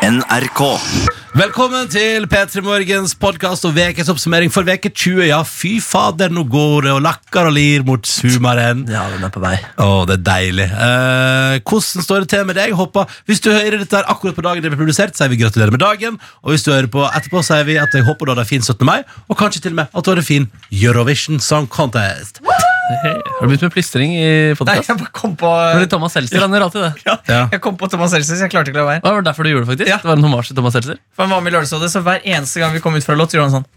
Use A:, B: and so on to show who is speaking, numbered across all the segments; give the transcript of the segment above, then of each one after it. A: NRK.
B: Velkommen til P3 Morgens podkast og ukes oppsummering for uke 20. Ja, fy fader, nå går det og lakker og lir mot sumaren.
C: Ja, den er på vei.
B: Å, det er deilig. Eh, hvordan står det til med deg? Håper, hvis du hører dette her akkurat på dagen det blir produsert, sier vi gratulerer med dagen. Og hvis du hører på etterpå, sier vi at jeg håper du hadde en fin 17. mai, og kanskje til og med at du hadde en fin Eurovision Song Contest.
C: Hei. Har du begynt med plystring i
D: Nei,
C: podkast?
D: jeg bare kom på
C: Fordi Thomas Seltzer han gjør alltid det.
B: Ja.
D: Jeg kom på Thomas Seltzer, så jeg klarte ikke å la være.
C: Og Det var derfor du gjorde det, faktisk.
D: Ja.
C: Det var en hommage til Thomas Seltzer.
D: For han var med i Lørdagsrådet, så hver eneste gang vi kom ut fra låt, gjorde han sånn.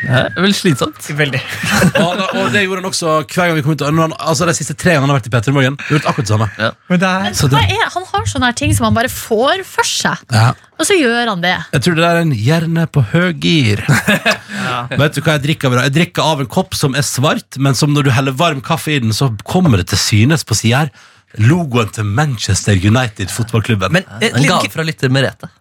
C: Det er vel slitsomt.
D: Veldig.
B: Og, han- og det gjorde han også hver gang vi kom ut. og når han- Altså, de siste tre gangene han har vært i P3 Morgen, gjort akkurat det samme.
D: Men det er
B: Så det,
E: Hva er, han har sånne her ting som han bare får for seg,
B: ja.
E: og så gjør han det.
B: Jeg tror det der er en hjerne på høy gir. Vet du hva jeg drikker av? i dag? Jeg drikker av en kopp som er svart, men som når du heller varm kaffe i den, så kommer det til synes på sida her. Logoen til Manchester United fotballklubben.
D: Men, eh,
C: En
D: litt,
C: gave fra lytter Merete.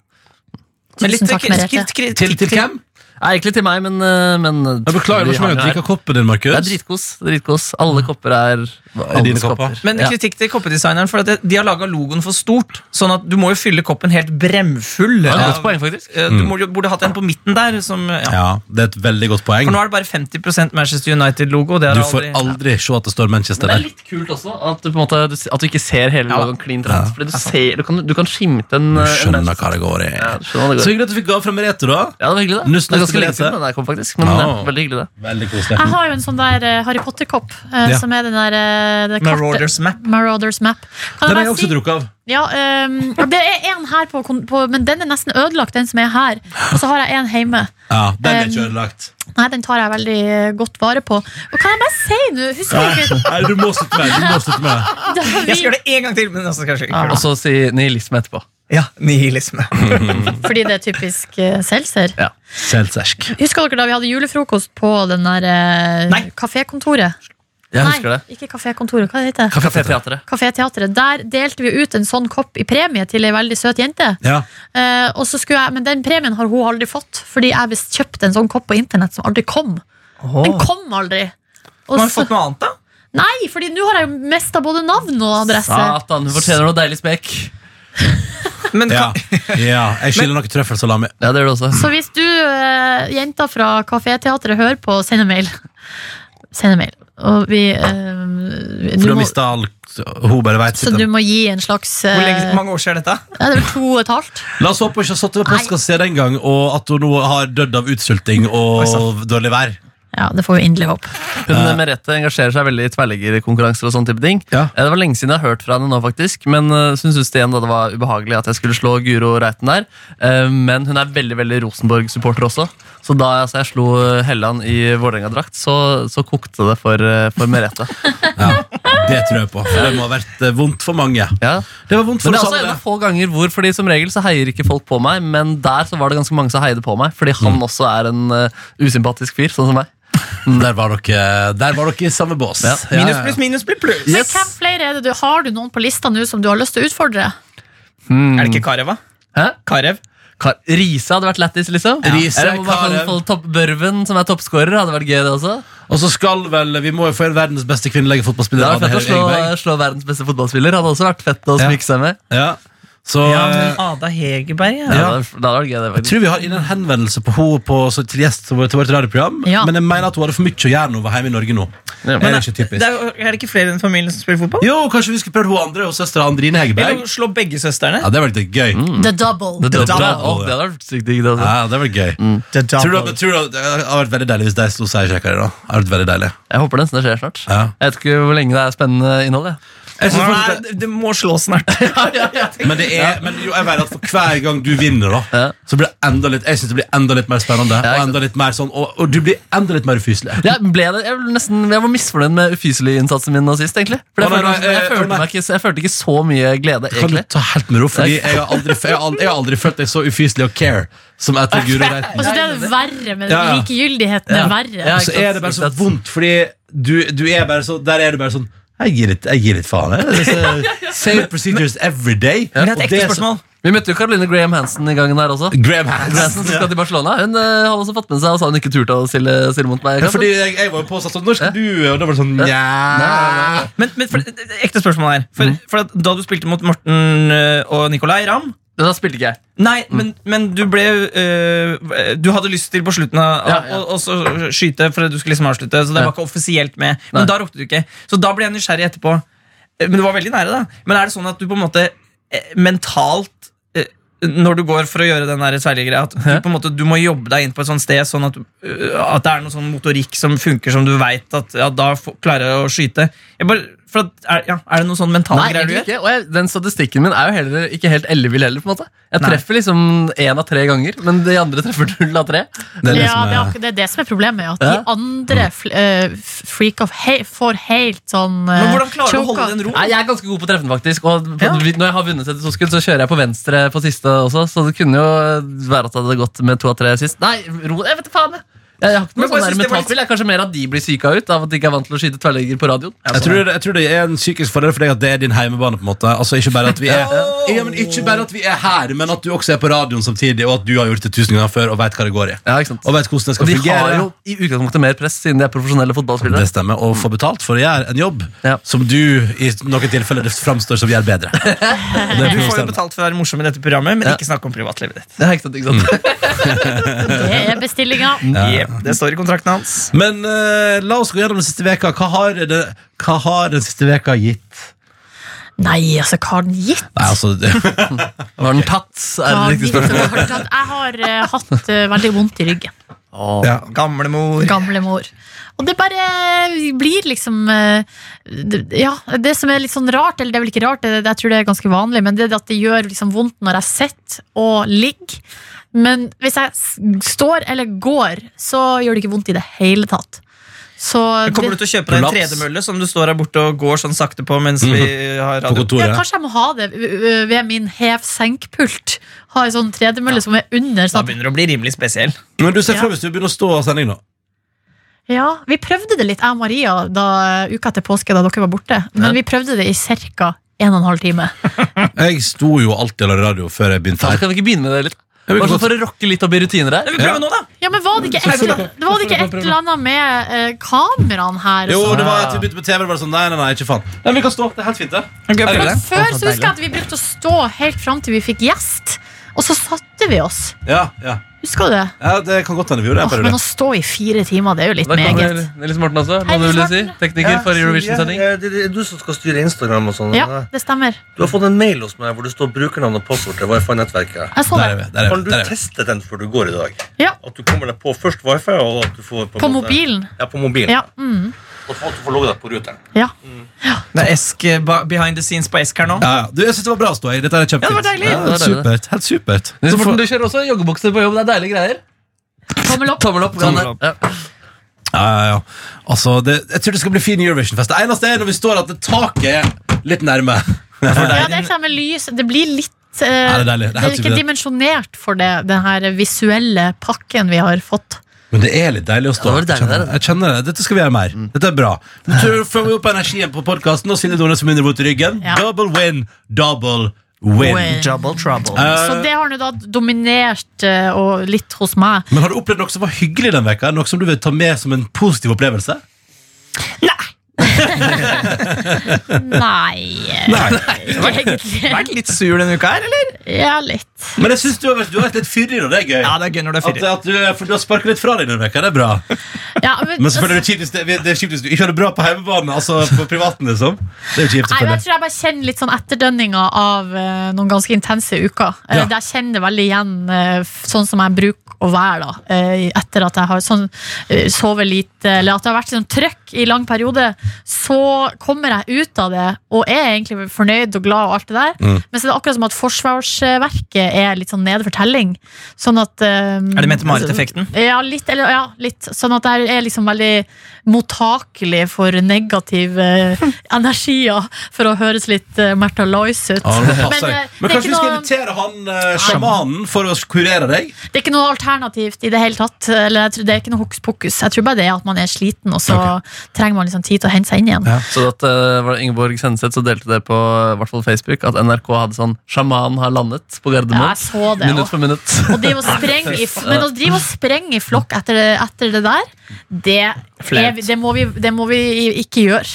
D: men litt
E: Tusen takk, Merete.
D: kritikk- kritikk-
B: til, til hvem?
C: Nei, egentlig til meg, men, eh, men
B: Jeg beklager, det var ikke mange som drikka koppen din, Markus.
C: Det er dritkos. dritkos. Alle kopper er
B: Er
C: alle
B: Mm. dine kopper?
D: Men
C: ja.
D: kritikk til koppedesigneren, for at det- de har laga logoen for stort. Sånn at du må jo fylle koppen helt bremfull.
C: Det er et godt
D: av-
C: poeng, faktisk.
D: Eh, Du må- du burde hatt en på midten der. Som, ja.
B: Ja, det er et veldig godt
D: For
B: poeng.
D: nå er det bare 50 Manchester United-logo. Det er
B: Du får
D: aldri...
B: aldri se at det står Manchester
C: Det er
B: der.
C: litt kult også at du, på en måte, du, at du ikke ser hele
D: Ja.
C: logoen clean trans. Fordi du, ser, du, kan, du kan skimte en
B: Du
C: eh, en
B: skjønner
C: venstre-
B: hva det går i.
C: Ja, du skjønner hva
B: Så
C: det går.
B: hyggelig at du fikk gave fra Merete, da.
C: Ja, det var hyggelig, det.
B: Nuss,
C: Det
B: nuss,
C: er ganske lenge
B: nuss,
C: siden den der kom, faktisk. Men
B: Ja.
C: ja, veldig hyggelig, det.
B: Veldig koselig.
E: Jeg har jo en sånn der eh, Harry Potter-kopp, eh,
B: Ja.
E: som er den der eh, det kartet-
D: Marauders Map.
E: Marauders Map. Kan
B: Den har
E: jeg
B: jeg
E: bare
B: også
E: si
B: drukket av.
E: ja, ehm, Det er en her, på, kon- på, men den er nesten ødelagt, den som er her. Og så har jeg en hjemme.
B: Ja, Den er ikke
E: Um,
B: ødelagt.
E: Nei, den tar jeg veldig eh, godt vare på. Og kan jeg bare si nå Husker dere
B: Nei, du må slutte med det. Du må slutte med det.
E: da
D: Jeg skal
E: vi
D: gjøre det en gang til, men også kanskje
E: Ah.
D: ikke.
C: Og så si nihilisme etterpå.
D: Ja, nihilisme.
E: Fordi det er typisk eh, Seltzer.
C: Ja.
B: Seltsersk.
E: Husker dere da vi hadde julefrokost på den der eh,
D: Nei.
E: kafékontoret?
C: Jeg husker det.
E: Nei, ikke kafékontoret. Hva heter det?
C: Kaféteatret.
E: Kaféteatret. Der delte vi ut en sånn kopp i premie til ei veldig søt jente.
B: Ja.
E: Eh, og så skulle jeg, men den premien har hun aldri fått, fordi jeg visst kjøpte en sånn kopp på internett som aldri kom. Den kom aldri. Og
D: Man har
E: så-
D: fått noe annet, da.
E: nei, fordi nå har jeg jo mista både navn og adresse.
C: Satan, du fortjener noe deilig spekk.
D: Men
B: Ja.
D: kan,
B: ja. Jeg skylder noe trøffelsalami.
C: Ja, det gjør du også.
E: Så hvis du, eh, jenta fra Kaféteatret, hører på, send en mail. Send en mail. Og vi eh,
B: For
E: du
B: du har
E: må,
B: mista all Hun bare veit
E: Så du må gi en slags eh,
D: hvor lenge, mange år siden er dette?
E: ja, Det er vel to og et halvt.
B: La oss håpe hun ikke har sittet ved postkassa den gang, og at hun nå har dødd av utsulting og dårlig vær.
E: Ja, det får vi inderlig håpe.
C: Hun eh, Merete engasjerer seg veldig i tverrliggerkonkurranser og sånn type ting.
B: Ja.
C: Eh, Det var lenge siden jeg har hørt fra henne nå, faktisk. Men eh, så hun syntes det igjen da det var ubehagelig at jeg skulle slå Guro Reiten der. Eh, Men hun er veldig veldig Rosenborg-supporter også. Så da altså, jeg slo eh, Helland i Vålerenga-drakt, så, så kokte det for, eh, for Merete.
B: Ja, det tror jeg på. For det må ha vært eh, vondt for mange.
C: Ja.
B: Det var vondt
C: Men
B: for
C: det er
B: oss
C: altså- også en
B: alle.
C: av få ganger hvor Fordi som regel så heier ikke folk på meg, men der så var det ganske mange som heide på meg. Fordi han også er en eh, usympatisk fyr, sånn som meg.
B: Mm, Der var dere, der var dere i samme bås.
C: Ja.
B: Ja,
D: Minus
B: ja, ja.
D: pluss, minus blir pluss.
E: Men
C: Yes.
E: hvem flere er det du Har du noen på lista nå som du har lyst til å utfordre?
D: Er det ikke Karev, da?
C: Hæ?
D: Karev?
C: Kar Risa hadde vært lættis, liksom.
B: Ja. Riise,
C: Eller om bare
B: Karev.
C: han får topp- Børven, som er toppskårer, hadde vært gøy, det også.
B: Og så skal vel Vi må jo få en verdens beste kvinnelige
C: Det
B: fotballspiller.
C: hadde
B: Ada
C: vært fett å slå,
B: Hegerberg.
C: slå verdens beste fotballspiller. Hadde også vært fett å
B: Ja.
C: smykke seg med.
B: Ja. Så
D: Ja, men
B: eh,
D: Ada Hegerberg, ja.
C: Ja. det hadde- Det hadde vært gøy, det.
B: jeg
C: faktisk
B: tror vi har inne en henvendelse på henne på, så til gjest til vårt til vårt radioprogram.
E: Ja.
B: Men jeg mener at hun hadde for mye å gjøre når hun var hjemme i Norge nå.
C: Ja.
B: Er det ikke
D: Det
B: typisk?
D: er, jo- er det ikke flere i den familien som spiller fotball?
B: Jo, kanskje vi skulle prøvd hun andre og søstera Andrine Hegerberg.
D: Eller slå begge søstrene?
B: Ja, det var litt gøy.
C: Mm.
E: The Double.
C: Det, det, det,
B: double.
C: å, det hadde vært sykt digg, det. Altså.
B: Ja, det var gøy. Tror du, tror du, det hadde vært veldig deilig hvis de slo seg i kjekkere, da. Det hadde vært veldig deilig.
C: Jeg håper nesten det skjer snart.
B: Ja.
C: Jeg vet ikke hvor lenge det er spennende innhold. Jeg.
B: Jeg synes
D: Nei,
B: fortsatt det-
D: det må slås snart.
B: men det er Men jo, jeg mener at for hver gang du vinner, da,
C: Ja.
B: så blir det enda litt Jeg synes det blir enda litt mer spennende.
C: ikke
B: Og
C: sant.
B: enda litt mer sånn Og, og du blir enda litt mer ufyselig.
C: Jeg, ble det, jeg, ble nesten, jeg var misfornøyd med ufyselig-innsatsen min nå sist. egentlig For
B: Å,
C: jeg,
B: nei,
C: følte,
B: nei,
C: jeg,
B: eh,
C: følte
B: nei.
C: meg ikke, jeg følte ikke så mye glede,
B: Kan du
C: egentlig.
B: ta helt med ro, Fordi jeg har aldri, jeg har aldri, jeg har aldri følt deg så ufyselig og care som etter Guro Reiten.
E: Altså, det er det verre, men
B: Ja, ja.
E: likegyldigheten er verre.
C: Ja,
B: Og så
C: ikke sant,
B: er det bare
C: ikke
B: så
C: sant.
B: vondt, fordi du, du er bare så Der er du bare sånn jeg gir litt, jeg gir litt faen. jeg. Så- Same procedures every day.
D: Men det er et
B: Og
D: ekte
B: så-
D: spørsmål.
C: Vi møtte jo Caroline Graham Hansen i gangen her også.
B: Graham Hansen.
C: Hansen som sånn skal til Barcelona Hun eh, har også fått med seg og sa hun ikke turte å stille, stille mot meg.
B: Ja, fordi jeg, jeg var jo påsatt sånn, når skal du? Og da var det sånn, nja
D: Men, men for, ekte spørsmål her. For, for at da du spilte mot Morten øh, eh, og Nicolay Ramm,
C: Da spilte ikke jeg.
D: Nei, men, men du ble øh, Du hadde lyst til på slutten av,
C: Ja, ja.
D: Å, å så skyte, for du skulle liksom avslutte. Så det
C: Ja.
D: var ikke offisielt med.
C: Nei.
D: Men da rakk du ikke. Så da ble jeg nysgjerrig etterpå. Eh, Men du var veldig nære, da. Men er det sånn at du på en måte eh, mentalt eh, når du går for å gjøre den der tverrliggreia, at du, på en måte, du må jobbe deg inn på et sånt sted, sånn at, øh, at det er noe sånn motorikk som funker, som du veit at ja, da f- klarer jeg å skyte. Jeg bare, for at, er, ja, er det noen sånn mentale
C: Nei,
D: greier du
C: egentlig
D: gjør?
C: ikke. Og jeg, den statistikken min er jo heller ikke helt ellevill heller. på en måte Jeg
D: Nei.
C: treffer liksom én av tre ganger, men de andre treffer null av tre.
B: Det er det
E: ja,
B: som
E: det er,
B: er,
E: akkurat- det er det som er problemet. At
C: Ja. Mm.
E: de andre fl eh, f- freak of he får helt sånn eh,
D: Men hvordan klarer du å holde
E: choker.
D: den roen?
C: Nei, Jeg er ganske god på å treffe den, faktisk. Og på,
D: Ja.
C: Når jeg har vunnet etter to skudd, så kjører jeg på venstre på siste også. Så det kunne jo være at det hadde gått med to av tre sist. Nei, ro, jeg vet da faen. jeg. Jeg har ikke
D: Men
C: noe
D: bare
C: sånn der
D: synes det var litt-
C: mentalspill. Det er kanskje mer at de blir syka ut av at de ikke er vant til å skyte tverrligger på radioen.
B: jeg, tror, jeg tror det er en psykisk fordel for deg at det er din heimebane. på en måte Altså Ikke bare at vi er ja, men Ikke bare at vi er her, men at du også er på radioen samtidig, og at du har gjort det tusen ganger før og veit hva det går i.
C: Ja, ikke sant?
B: Og vet hvordan det
C: Og
B: skal
C: de
B: fungere.
C: har jo i utgangspunktet mer press, siden de er profesjonelle fotballspillere.
B: Det stemmer, og få betalt for å gjøre en jobb
C: Ja.
B: som du i noen tilfeller det framstår som gjør bedre. Og det er
D: Du får jo
B: provoserende.
D: betalt for å være morsom i dette programmet, men
C: Ja.
D: ikke snakke om privatlivet ditt.
C: Ja, ikke sant, ikke sant?
E: Det er bestillinga.
D: Jep, det står i kontrakten hans.
B: Men eh, la oss gå gjennom den siste veka. Hva har, det, hva har den siste veka gitt?
E: Nei, altså, hva har den gitt?
B: Nei, altså det,
C: Var den tatt? Er
E: Hva
C: det
E: har
C: riktig
E: den gitt?
C: spørsmål?
E: Hva har den tatt? Jeg har eh, hatt eh, veldig vondt i ryggen.
C: Åh.
B: ja.
D: Gamlemor.
E: Gamle mor. Og det bare blir liksom eh, det- Ja, det som er litt sånn rart, eller det er vel ikke rart, det, jeg tror det er ganske vanlig, men det er det at det gjør liksom vondt når jeg sitter og ligger. Men hvis jeg s- står eller går, så gjør det ikke vondt i det hele tatt. Så
D: Kommer
E: det,
D: du til å kjøpe deg en
B: Kollaps.
D: tredemølle som du står her borte og går sånn sakte på mens vi har
B: På
D: radio?
E: ja,
B: kontoret.
E: kanskje jeg må ha det ø- ø, ved min hev-senk-pult. Ha en sånn tredemølle som er under.
D: Da
E: Sånn. at-
D: begynner du å bli rimelig spesiell.
B: Men du ser
E: Ja.
B: frem hvis du begynner å stå av sending nå.
E: Ja, Vi prøvde det litt, jeg og Maria, da, uka etter påske, da dere var borte. Men vi prøvde det i ca. en og en halv time.
B: Jeg sto jo alltid og lagde radio før jeg begynte
C: Faen,
B: her.
C: Kan vi ikke begynne med det litt?
B: Jeg vil
C: Bare sånn
B: godt-
C: for å rokke litt opp i rutiner her.
D: Nei, vi prøver nå, da!
E: Ja, men var det ikke et, det var det ikke et eller annet med eh, kameraene her?
B: Jo,
E: og sånn?
B: det var at vi begynte på TV, det var sånn Nei, nei, nei, ikke faen. Nei, vi kan stå. Det er helt fint, det.
D: Kan ikke jeg prøve
E: Men
D: det?
E: før så husker jeg at vi brukte å stå helt fram til vi fikk gjest, og så satte vi oss.
B: Ja, ja.
E: Husker du det?
B: ja det kan godt hende vi gjorde det.
E: Åh,
B: en
E: men
B: periode.
E: å stå i fire timer, det er jo litt
C: Da kommer
E: meget.
C: Nils Morten også.
E: Hei,
C: Hva du
E: Nils
C: ville si?
E: Morten.
C: Tekniker
A: Ja,
C: for
A: Silje,
C: Eurovision-sending.
A: eh, Det det er du som skal styre Instagram og sånn.
E: Ja, det stemmer.
A: Du har fått en mail hos meg hvor det står brukernavn og passord til wifi-nettverket.
E: Jeg så
B: Der er
E: det.
B: vi. Der er
A: Kan
B: vi.
A: du
B: Der er vi.
A: teste den før du går i dag?
E: Ja.
A: At du kommer deg på først wifi, og at du får på, en
E: På
A: måte-
E: mobilen.
A: Ja, på mobilen.
E: Ja. Mm,
A: Og at du får logge deg på ruteren.
E: ja.
D: Det er Esk eh, ba- behind the scenes på Esk her nå.
B: Ja, ja. Du, jeg syns det var bra å stå i. Dette er kjempefint.
D: Ja, det var deilig.
B: Ja, helt
C: Ja, det var
B: supert. Helt supert.
C: Nils Morten, du kjører også joggebukse på jobb. Det er deilige greier.
E: Tommel opp.
C: Tommel opp.
D: Tommel
C: Janne.
D: opp.
C: Ja.
B: Ja, ja, ja. Altså, det, jeg tror det skal bli fin Eurovision-fest. Det eneste er når vi står at det taket er litt nærme.
E: Ja, det er ikke det med lys. Det blir litt eh,
B: det er deilig. Det er
E: det
B: helt
E: er ikke
B: supert.
E: dimensjonert for det, den her visuelle pakken vi har fått.
B: Men det er litt deilig å stå.
C: Ja, det var
B: jeg,
C: deilig,
B: kjenner, det. jeg kjenner det. Dette skal vi gjøre mer.
D: Mm.
B: Dette er bra. Nå tror jeg vi får opp energien på podkasten, og Silje Nordnes som vinner mot ryggen.
E: Ja.
B: Double win, double win.
E: Win.
D: Double trouble.
B: Eh,
E: Så det har nå da dominert eh, og litt hos meg.
B: men har du opplevd noe som var hyggelig den veka? Noe som du vil ta med som en positiv opplevelse?
E: Nei. Egentlig.
D: Vært litt sur denne uka her, eller?
E: Ja, litt.
B: Men jeg synes du har vært, du har vært litt fyrig, og det er gøy.
D: Ja, det er gøy når det er
B: At,
D: fire.
B: at du, for du har sparket litt fra deg denne veka, det er bra.
E: Ja, men,
B: Men selvfølgelig er det kjipt hvis det- det er kjipt hvis du ikke har det bra på hjemmebane, altså på privaten, liksom. Det er jo kjipt,
E: Nei, men jeg
B: selvfølgelig.
E: tror jeg bare kjenner litt sånn etterdønninger av eh, noen ganske intense uker. Eh,
B: Ja.
E: Der jeg kjenner det veldig igjen eh, f- sånn som jeg bruker å være da, eh, etter at jeg har sånn, eh, sovet lite, eller at det har vært sånn trøkk i lang periode. Så kommer jeg ut av det og er egentlig fornøyd og glad og alt det der.
B: Mm.
E: Men så er det akkurat som at forsvarsverket er litt sånn nede for telling. Sånn at
D: Er
E: eh,
D: det Mette-Marit-effekten?
E: Ja litt, eller, ja, litt. Sånn at jeg er liksom veldig mottakelig for negative eh, energier, for å høres litt eh, Märtha Lois ut.
B: Ja, det passer
E: Men, eh,
B: deg. Men kanskje
E: det er
B: vi
E: ikke
B: skal
E: noe-
B: invitere han eh, sjamanen for å kurere deg?
E: Det er ikke noe alternativt i det hele tatt. Eller jeg tror, det er ikke noe hokus pokus. Jeg tror bare det er at man er sliten, og så trenger man liksom tid til å hente seg inn igjen.
B: Ja.
C: Så at eh, var det Ingeborg Senneseth som delte det på eh, i hvert fall Facebook, at NRK hadde sånn 'Sjaman har landet' på
E: Ja,
C: Gardermoen.
E: jeg så det
C: Minutt
E: også.
C: for minutt.
E: Og drive og sprenge i, men å drive og sprenge i flokk etter, det- etter det der, det, er, vi- det, må vi, det må vi ikke gjøre.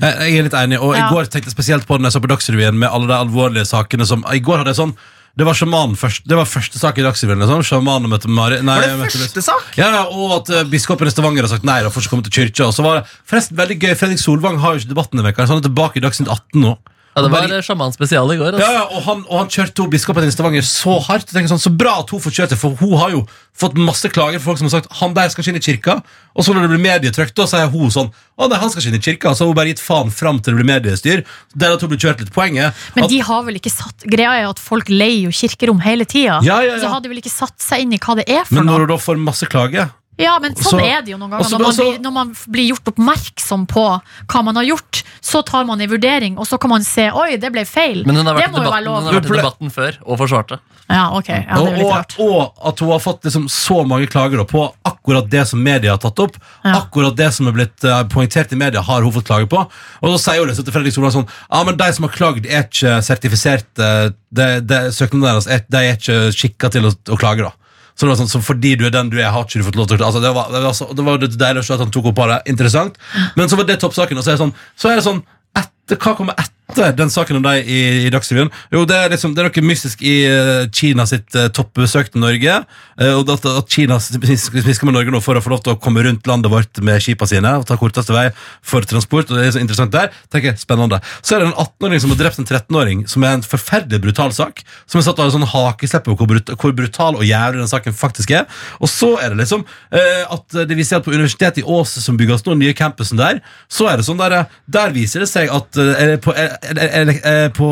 B: Eh, Jeg er litt enig, og i
E: Ja.
B: går tenkte jeg spesielt på det når jeg så på Dagsrevyen med alle de alvorlige sakene som I går hadde jeg sånn Det var sjamanen først. Det var første sak i Dagsrevyen. Liksom. Sjamanen møtte Mari Nei,
D: Var det
B: jeg møtte-
D: første sak?
B: Ja, ja, og at eh, biskopen i Stavanger har sagt nei, da får ikke komme til kyrkja. Og så var det forresten veldig gøy, Fredrik Solvang har jo ikke debatten i veka, så han er tilbake i Dagsnytt 18 nå.
C: Ja, det
B: Og
C: var
B: bare-
C: sjaman spesial i
B: ja,
C: går. Altså.
B: ja, og, han, og han kjørte jo biskopen i Stavanger så hardt. Jeg tenker sånn, Så bra at hun får kjørt det, for hun har jo fått masse klager fra folk som har sagt han der skal ikke inn i kirka. Og så når det blir medietrykt, da sier hun sånn å nei, han skal ikke inn i kirka. Så har hun bare gitt faen fram til det blir mediestyr. Der at hun blir kjørt litt poenget.
E: Men
B: at,
E: de har vel ikke satt Greia er jo at folk leier jo kirkerom hele tida.
B: Ja, ja, ja.
E: Så hadde vel ikke satt seg inn i hva det er for
B: men når
E: noe.
B: hun da får masse klager
E: Ja, men sånn
B: så- altså,
E: er det jo noen ganger.
B: og så-
E: når, man
B: og så-
E: blir, når man blir gjort oppmerksom på hva man har gjort, så tar man en vurdering, og så kan man se Oi, det ble feil.
C: Men hun har
E: det
C: vært, i
E: må jo være
C: debatten, hun
E: lov.
C: har vært i debatten før og forsvarte.
E: Ja, ok. Ja, det er jo litt
B: og,
E: rart.
B: og, og at hun har fått liksom så mange klager da, på akkurat det som media har tatt opp.
E: Ja.
B: Akkurat det som er blitt eh, poengtert i media, har hun fått klage på. Og så sier hun liksom til Fredrik Solvang sånn Ja, men de som har klagd, er ikke sertifisert. eh, De, de, søknadene deres er, de er ikke skikka til å, å klage, da. Så det var sånn, så fordi du er den du er, har ikke du fått lov til å altså, Det var det var, så, det var det deilig å se at han tok opp på det. Interessant. Men så var det toppsaken. Og så er det sånn, så er det sånn etter, Hva kommer etter den saken om deg i, i Dagsrevyen? Jo, det er, liksom, det er noe mystisk i eh, Kina sitt eh, toppbesøkte Norge. eh, og at, at Kina spisker med Norge nå for å få lov til å komme rundt landet vårt med skipene sine. og ta korteste vei for transport, og det er så interessant der. tenker jeg, spennende. Så er det en 18-åring som har drept en 13-åring, som er en forferdelig brutal sak. Som er satt av en sånn hakeslepp på hvor, brut hvor brutal og jævlig den saken faktisk er. Og så er det liksom eh, at det vi ser på Universitetet i Ås, som bygges nå, nye campusen der, så er det sånn der, eh, der viser det seg at eh, eller på, eh, ele- eh, på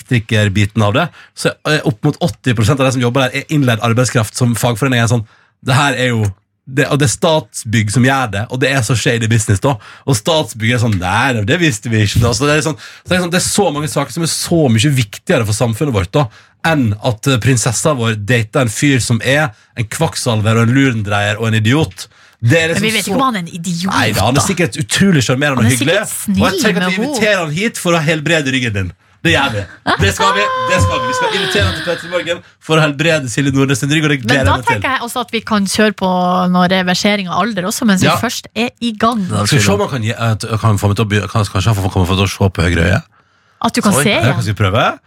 B: elektrikerbiten av det, så er eh, opp mot 80 av de som jobber der, er innleid arbeidskraft som fagforening er sånn Det her er jo det, og det er Statsbygg som gjør det, og det er så shady business. da Og Statsbygg er sånn Nei, det visste vi ikke. Da. Så det, er sånn, så det, er sånn, det er så mange saker som er så mye viktigere for samfunnet vårt da enn at eh, prinsessa vår dater en fyr som er en kvakksalver og en lurendreier og en idiot. Det er
E: Men
B: liksom
E: vi vet ikke
B: så-
E: om han er en idiot,
B: Nei, da, han er sikkert utrolig sjarmerende
E: Han
B: og
E: er
B: hyggelig.
E: sikkert snill
B: Og jeg tenker at vi
E: med henne.
B: inviterer han hit for å helbrede ryggen din. Det gjør vi. Det skal vi. det skal Vi Vi skal invitere han til Petter i Morgen for å helbrede Silje Nordnes sin rygg. Og det
E: Men
B: gleder
E: da
B: jeg meg til.
E: tenker jeg også at vi kan kjøre på noe reversering av alder også, mens
B: Ja.
E: vi først er i gang.
B: Skal vi se om han kan, gi- at- kan få meg til å by- kan- Kanskje han får komme til å se på høyre øye?
E: At du kan
C: Oi,
E: se
B: Ja,
E: igjen.
B: Skal vi prøve?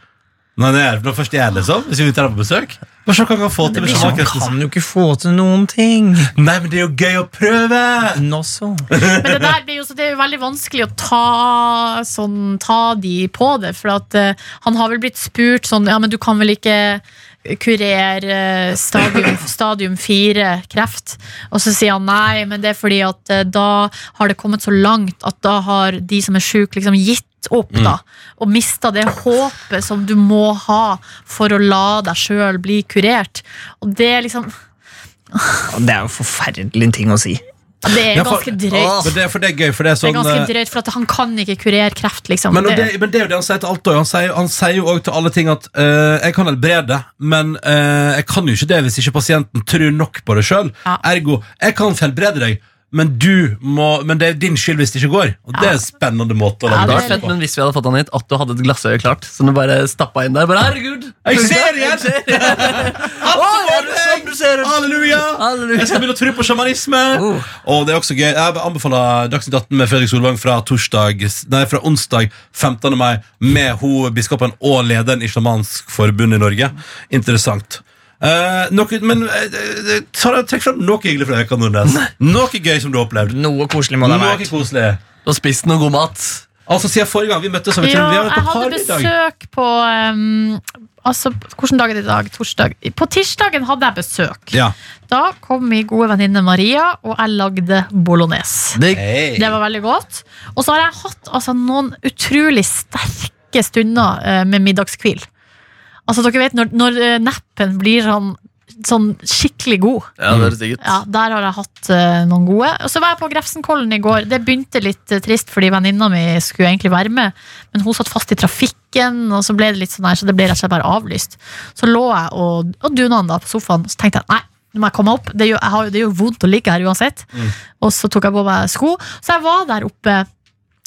B: Når han er- når først jeg er liksom Hvis vi inviterer han på besøk? Hva så kan han få til med
D: Han
B: sjakkresten?
D: kan jo ikke få til noen ting.
B: Nei, men det er jo gøy å prøve!
D: Nå så.
E: Men det der blir jo, så det er jo veldig vanskelig å ta, sånn, ta de på det. For at, eh, han har vel blitt spurt sånn Ja, men du kan vel ikke kurere eh, stadium, stadium 4 kreft? Og så sier han nei, men det er fordi at eh, da har det kommet så langt at da har de som er sjuke, liksom gitt opp
B: Mm.
E: da, Og mista det håpet som du må ha for å la deg sjøl bli kurert. Og det er liksom
D: Det er jo forferdelig ting å si.
E: Det er
B: Ja, for-
E: ganske drøyt.
B: For det, for det er gøy, for det er
E: Det er
B: sånn
E: ganske
B: eh,
E: drøyt, for at han kan ikke kurere kreft, liksom.
B: Men, og
E: Det-
B: det, men det er jo det han sier til alt også. Han sier, han sier jo også til alle ting at eh, Jeg kan helbrede, men eh, jeg kan jo ikke det hvis ikke pasienten tror nok på det sjøl.
E: Ja.
B: Ergo, jeg kan helbrede deg, men du må Men det er din skyld hvis det ikke går. Og det er en spennende måte å
E: Ja,
B: lage
C: Det
E: det
C: var
B: dag
E: er
C: fett,
B: på.
C: men hvis vi hadde fått han hit, at du hadde et glassøye klart. Så du bare stappa inn der. Bare, herregud
B: Jeg ser igjen!
C: Å, er du sånn du ser ut?
B: Halleluja!
C: Halleluja.
B: Jeg skal begynne å tro på sjamanisme!
C: Oh.
B: Og det er også gøy. Jeg anbefaler Dagsnytt 18 med Fredrik Solvang fra, torsdag, nei, fra onsdag 15. mai med ho, biskopen og lederen i Sjamansk forbund i Norge. Interessant. Eh, noe, men eh, eh, ta- trekk fram noe hyggelig fra Øykan Nordnes. Noe gøy som du har opplevd.
D: Noe koselig må det ha
B: Noe
D: vært.
B: koselig.
C: Du har spist noe god mat.
B: Altså, Siden forrige gang vi møttes, har vi,
E: ja,
B: vi har
E: jeg
B: vært på
E: hadde
B: parmiddag.
E: besøk på um, Altså, hvilken dag er det i dag? Torsdag. På tirsdagen hadde jeg besøk.
B: Ja.
E: Da kom min gode venninne Maria, og jeg lagde bolognese.
C: Digg.
B: Hey.
E: Det var veldig godt. Og så har jeg hatt altså, noen utrolig sterke stunder eh, med middagskvil. Altså, dere vet når, når eh, neppen blir sånn, sånn skikkelig god.
C: Ja, det høres digg ut.
E: Ja, Der har jeg hatt eh, noen gode. Og så var jeg på Grefsenkollen i går. Det begynte litt eh, trist, fordi venninna mi skulle egentlig være med, men hun satt fast i trafikken, og så ble det litt sånn her, så det ble rett og slett bare avlyst. Så lå jeg og, og duna han da på sofaen, og så tenkte jeg nei. Nå må jeg komme opp, det gjør, jeg har, jo- det gjør vondt å ligge her uansett
C: Mm.
E: Og så tok jeg på meg sko Så jeg var der oppe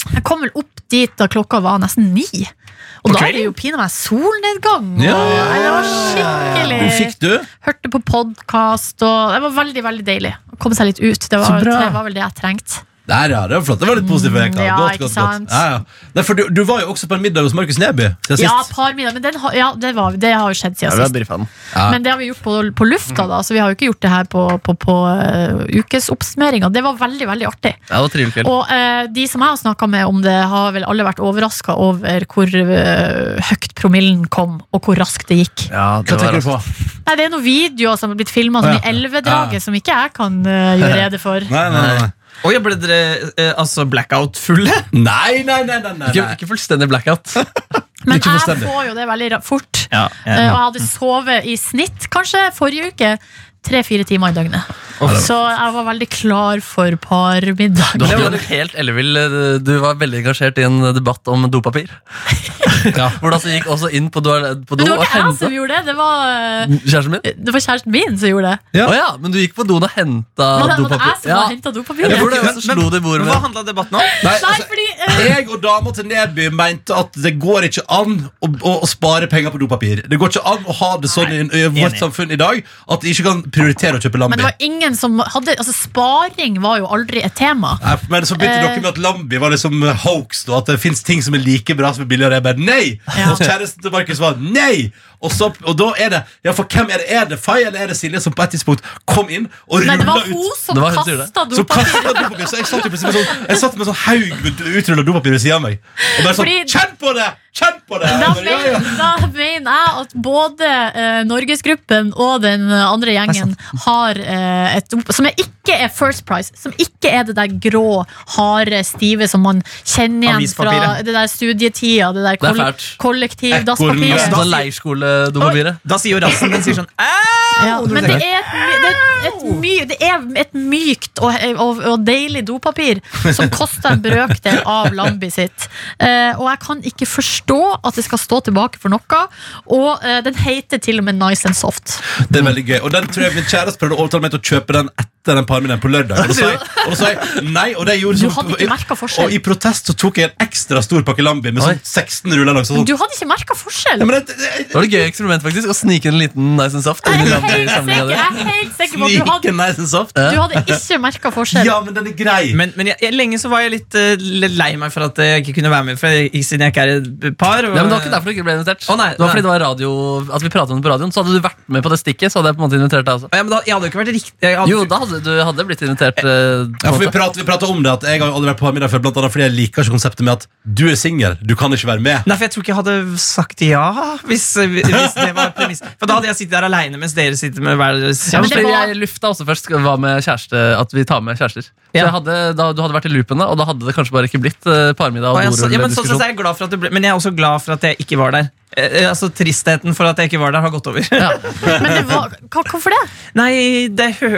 E: Jeg kom vel opp dit da klokka var nesten ni Og
D: På
E: da er
D: kvelden?
E: det jo pinlig meg solnedgang og,
B: Ja, ja,
E: Det
B: ja,
E: var skikkelig
B: Hun fikk du?
E: Hørte på podkast, og det var veldig veldig deilig. Å komme seg litt ut. Det var,
B: Så bra.
E: det var vel det jeg trengte.
B: Der, ja, det var flott. Det var litt positivt. for Eka.
E: Mm, ja,
B: godt,
E: ikke
B: godt, godt.
E: sant?
B: Ja, ja. Nei, for du, du var jo også på en middag hos Markus Neby siden
E: Ja,
B: sist.
E: par middager. Men den, har- ja, det, var, det har jo
C: Ja,
E: skjedd siden
C: vi er
E: sist.
C: brifaen.
B: Ja.
E: Men det har vi gjort på, på lufta, da, så vi har jo ikke gjort det her på, på, på eh, ukesoppsummeringa. Det var veldig, veldig artig.
C: Ja, det var trivelig kveld.
E: Og eh, de som jeg har snakka med om det, har vel alle vært overraska over hvor eh, høyt promillen kom, og hvor raskt det gikk.
C: Ja, det
B: Hva
C: var
B: tenker du
C: altså-
B: på?
E: Nei, Det er noen videoer som har blitt filma
B: Å, ja.
E: i elvedraget,
B: Ja.
E: som ikke jeg kan eh, gjøre rede for.
B: Nei, nei, nei.
D: Oi, ble dere eh, altså blackout-fulle?
B: Nei, nei, nei, nei, nei,
C: Ikke,
B: nei.
C: ikke fullstendig blackout.
E: Men
B: Ikke
E: jeg
B: fullstendig.
E: får jo det veldig ra- fort.
D: Ja,
E: Eh, og jeg hadde sovet i snitt, kanskje forrige uke, tre-fire timer i døgnet. Så jeg var veldig klar for parmiddag.
C: Du, hadde en helt ellevill, eh, du var veldig engasjert i en eh, debatt om dopapir.
B: Ja.
C: Hvor du altså gikk også inn på do, på
E: Men
C: do
E: det var
C: og
E: ikke jeg
C: henta
E: som gjorde det, det var,
C: Kjæresten min?
E: eh, det var kjæresten min som gjorde det.
B: Ja.
C: Å ja, men du gikk på doen og henta
E: Var det, var det jeg
C: dopapir?
E: som
C: Ja.
E: hadde henta
C: Jeg tror
E: dopapiret?
C: det var jeg som
D: Men-
C: slo det i bordet
D: Hva
C: med.
D: handla debatten om?
B: Nei,
E: Nei,
B: altså,
E: fordi eh,
B: jeg og dama til Neby mente at det går ikke an å, å, å spare penger på dopapir. Det går ikke an å ha det sånn i, i vårt
D: enig.
B: samfunn i dag at de ikke kan prioritere å kjøpe
E: Men
B: Lambi.
E: det var ingen som hadde Altså, sparing var jo aldri et tema.
B: Nei, men så begynte
E: Eh.
B: dere med at Lambi var liksom hoax, og at det fins ting som er like bra som er billigere. Jeg bare nei!
E: Ja.
B: Og kjæresten til Markus var nei! Og, så, og da er det Ja, for hvem er det? Er det Fay eller er det Silje som på et tidspunkt kom inn og
E: Nei, det
B: rulla
E: var
B: ut?
E: hun som
C: Det var hun som gjorde det.
E: kasta
B: Så
E: dopapir.
B: kastet jeg dopapir, så jeg satt jo plutselig med sånn Jeg satt med sånn haug med utrulla dopapir ved siden av meg. Og bare sånn
E: Fordi-
B: Kjenn på det! Kjenn på det!
E: Da
B: Jeg bare, ja, ja.
E: mener, da mener jeg at både eh, Norgesgruppen og den eh, andre gjengen har eh, et dop- Som er- ikke er First Price, som ikke er det der grå, harde, stive som man kjenner igjen fra
D: Avispapiret.
E: det der studietida, det der
C: Det er
E: koll
C: fælt.
E: kollektiv
B: Ekorn,
E: dasspapiret.
C: Altså, Leirskoledopapiret.
D: Da sier jo rassen den sier sånn Au!
E: Ja, men det er, et, my- det, er et my, det er et mykt og, og, og deilig dopapir som koster en brøkdel av Lambi sitt. Eh, og jeg kan ikke forstå at det skal stå tilbake for noe. Og eh, den heter til og med Nice and Soft.
B: Det er veldig gøy. Og den tror jeg min kjæreste prøvde å overtale meg til å kjøpe den etter den parmiddagen på lørdag. Og da sa jeg, og da sa jeg nei, og det gjorde
E: Du
B: sånn-
E: hadde ikke merket forskjell.
B: Og i protest så tok jeg en ekstra stor pakke Lambi med
C: Oi.
B: sånn 16 ruller langs. og Sånn.
E: Du hadde ikke merka forskjell.
B: Ja,
E: Jeg
B: men det, det,
C: Det var et gøy eksperiment faktisk, å snike en liten nice and saft. inn i
E: er
C: den andre
E: helt sikker,
C: samlingen
E: jeg
C: der.
E: er helt sikker på at du
B: Sniken
E: hadde,
B: nice and soft.
E: du hadde ikke merka forskjell.
B: Ja, men den er grei.
D: Men, men jeg, jeg, lenge så var jeg litt eh, lei meg for at jeg ikke kunne være med, for jeg, siden jeg ikke er et par. og-
C: Nei, men Det var ikke derfor du ikke ble invitert.
D: Å, nei,
C: det var
D: nei.
C: fordi det var radio, at vi pratet om det på radioen. Så hadde du vært med på det stikket, så hadde jeg på en måte invitert deg også.
D: Ja, men da, jeg hadde jo ikke vært riktig jeg hadde,
C: Jo, da hadde du hadde blitt invitert. eh, på
B: Ja,
C: en
B: for vi
C: måte.
B: prater, vi prater om det at Jeg har jo aldri vært på parmiddag før, blant annet fordi jeg liker ikke konseptet med at du er singel. Du kan ikke være med.
D: Nei, for jeg tror ikke jeg hadde sagt ja hvis, eh, hvis det var premiss. For da hadde jeg sittet der alene mens dere sitter med hver deres
C: Ja, men
E: men det
C: fordi
E: var-
C: Jeg lufta også først hva med kjæreste, at vi tar med kjærester. Så
D: Ja.
C: jeg hadde, da, Du hadde vært i loopene, og da hadde det kanskje bare ikke blitt eh, parmiddag
D: Og
C: og
D: jeg, så, ja, men, sånn sett
C: dorull-diskusjon.
D: er jeg glad for at det ble, men jeg er også glad for at jeg ikke var der. Eh, eh, altså Tristheten for at jeg ikke var der, har gått over.
C: Ja.
E: Men det var, hva- hvorfor det?
D: Nei, det hø...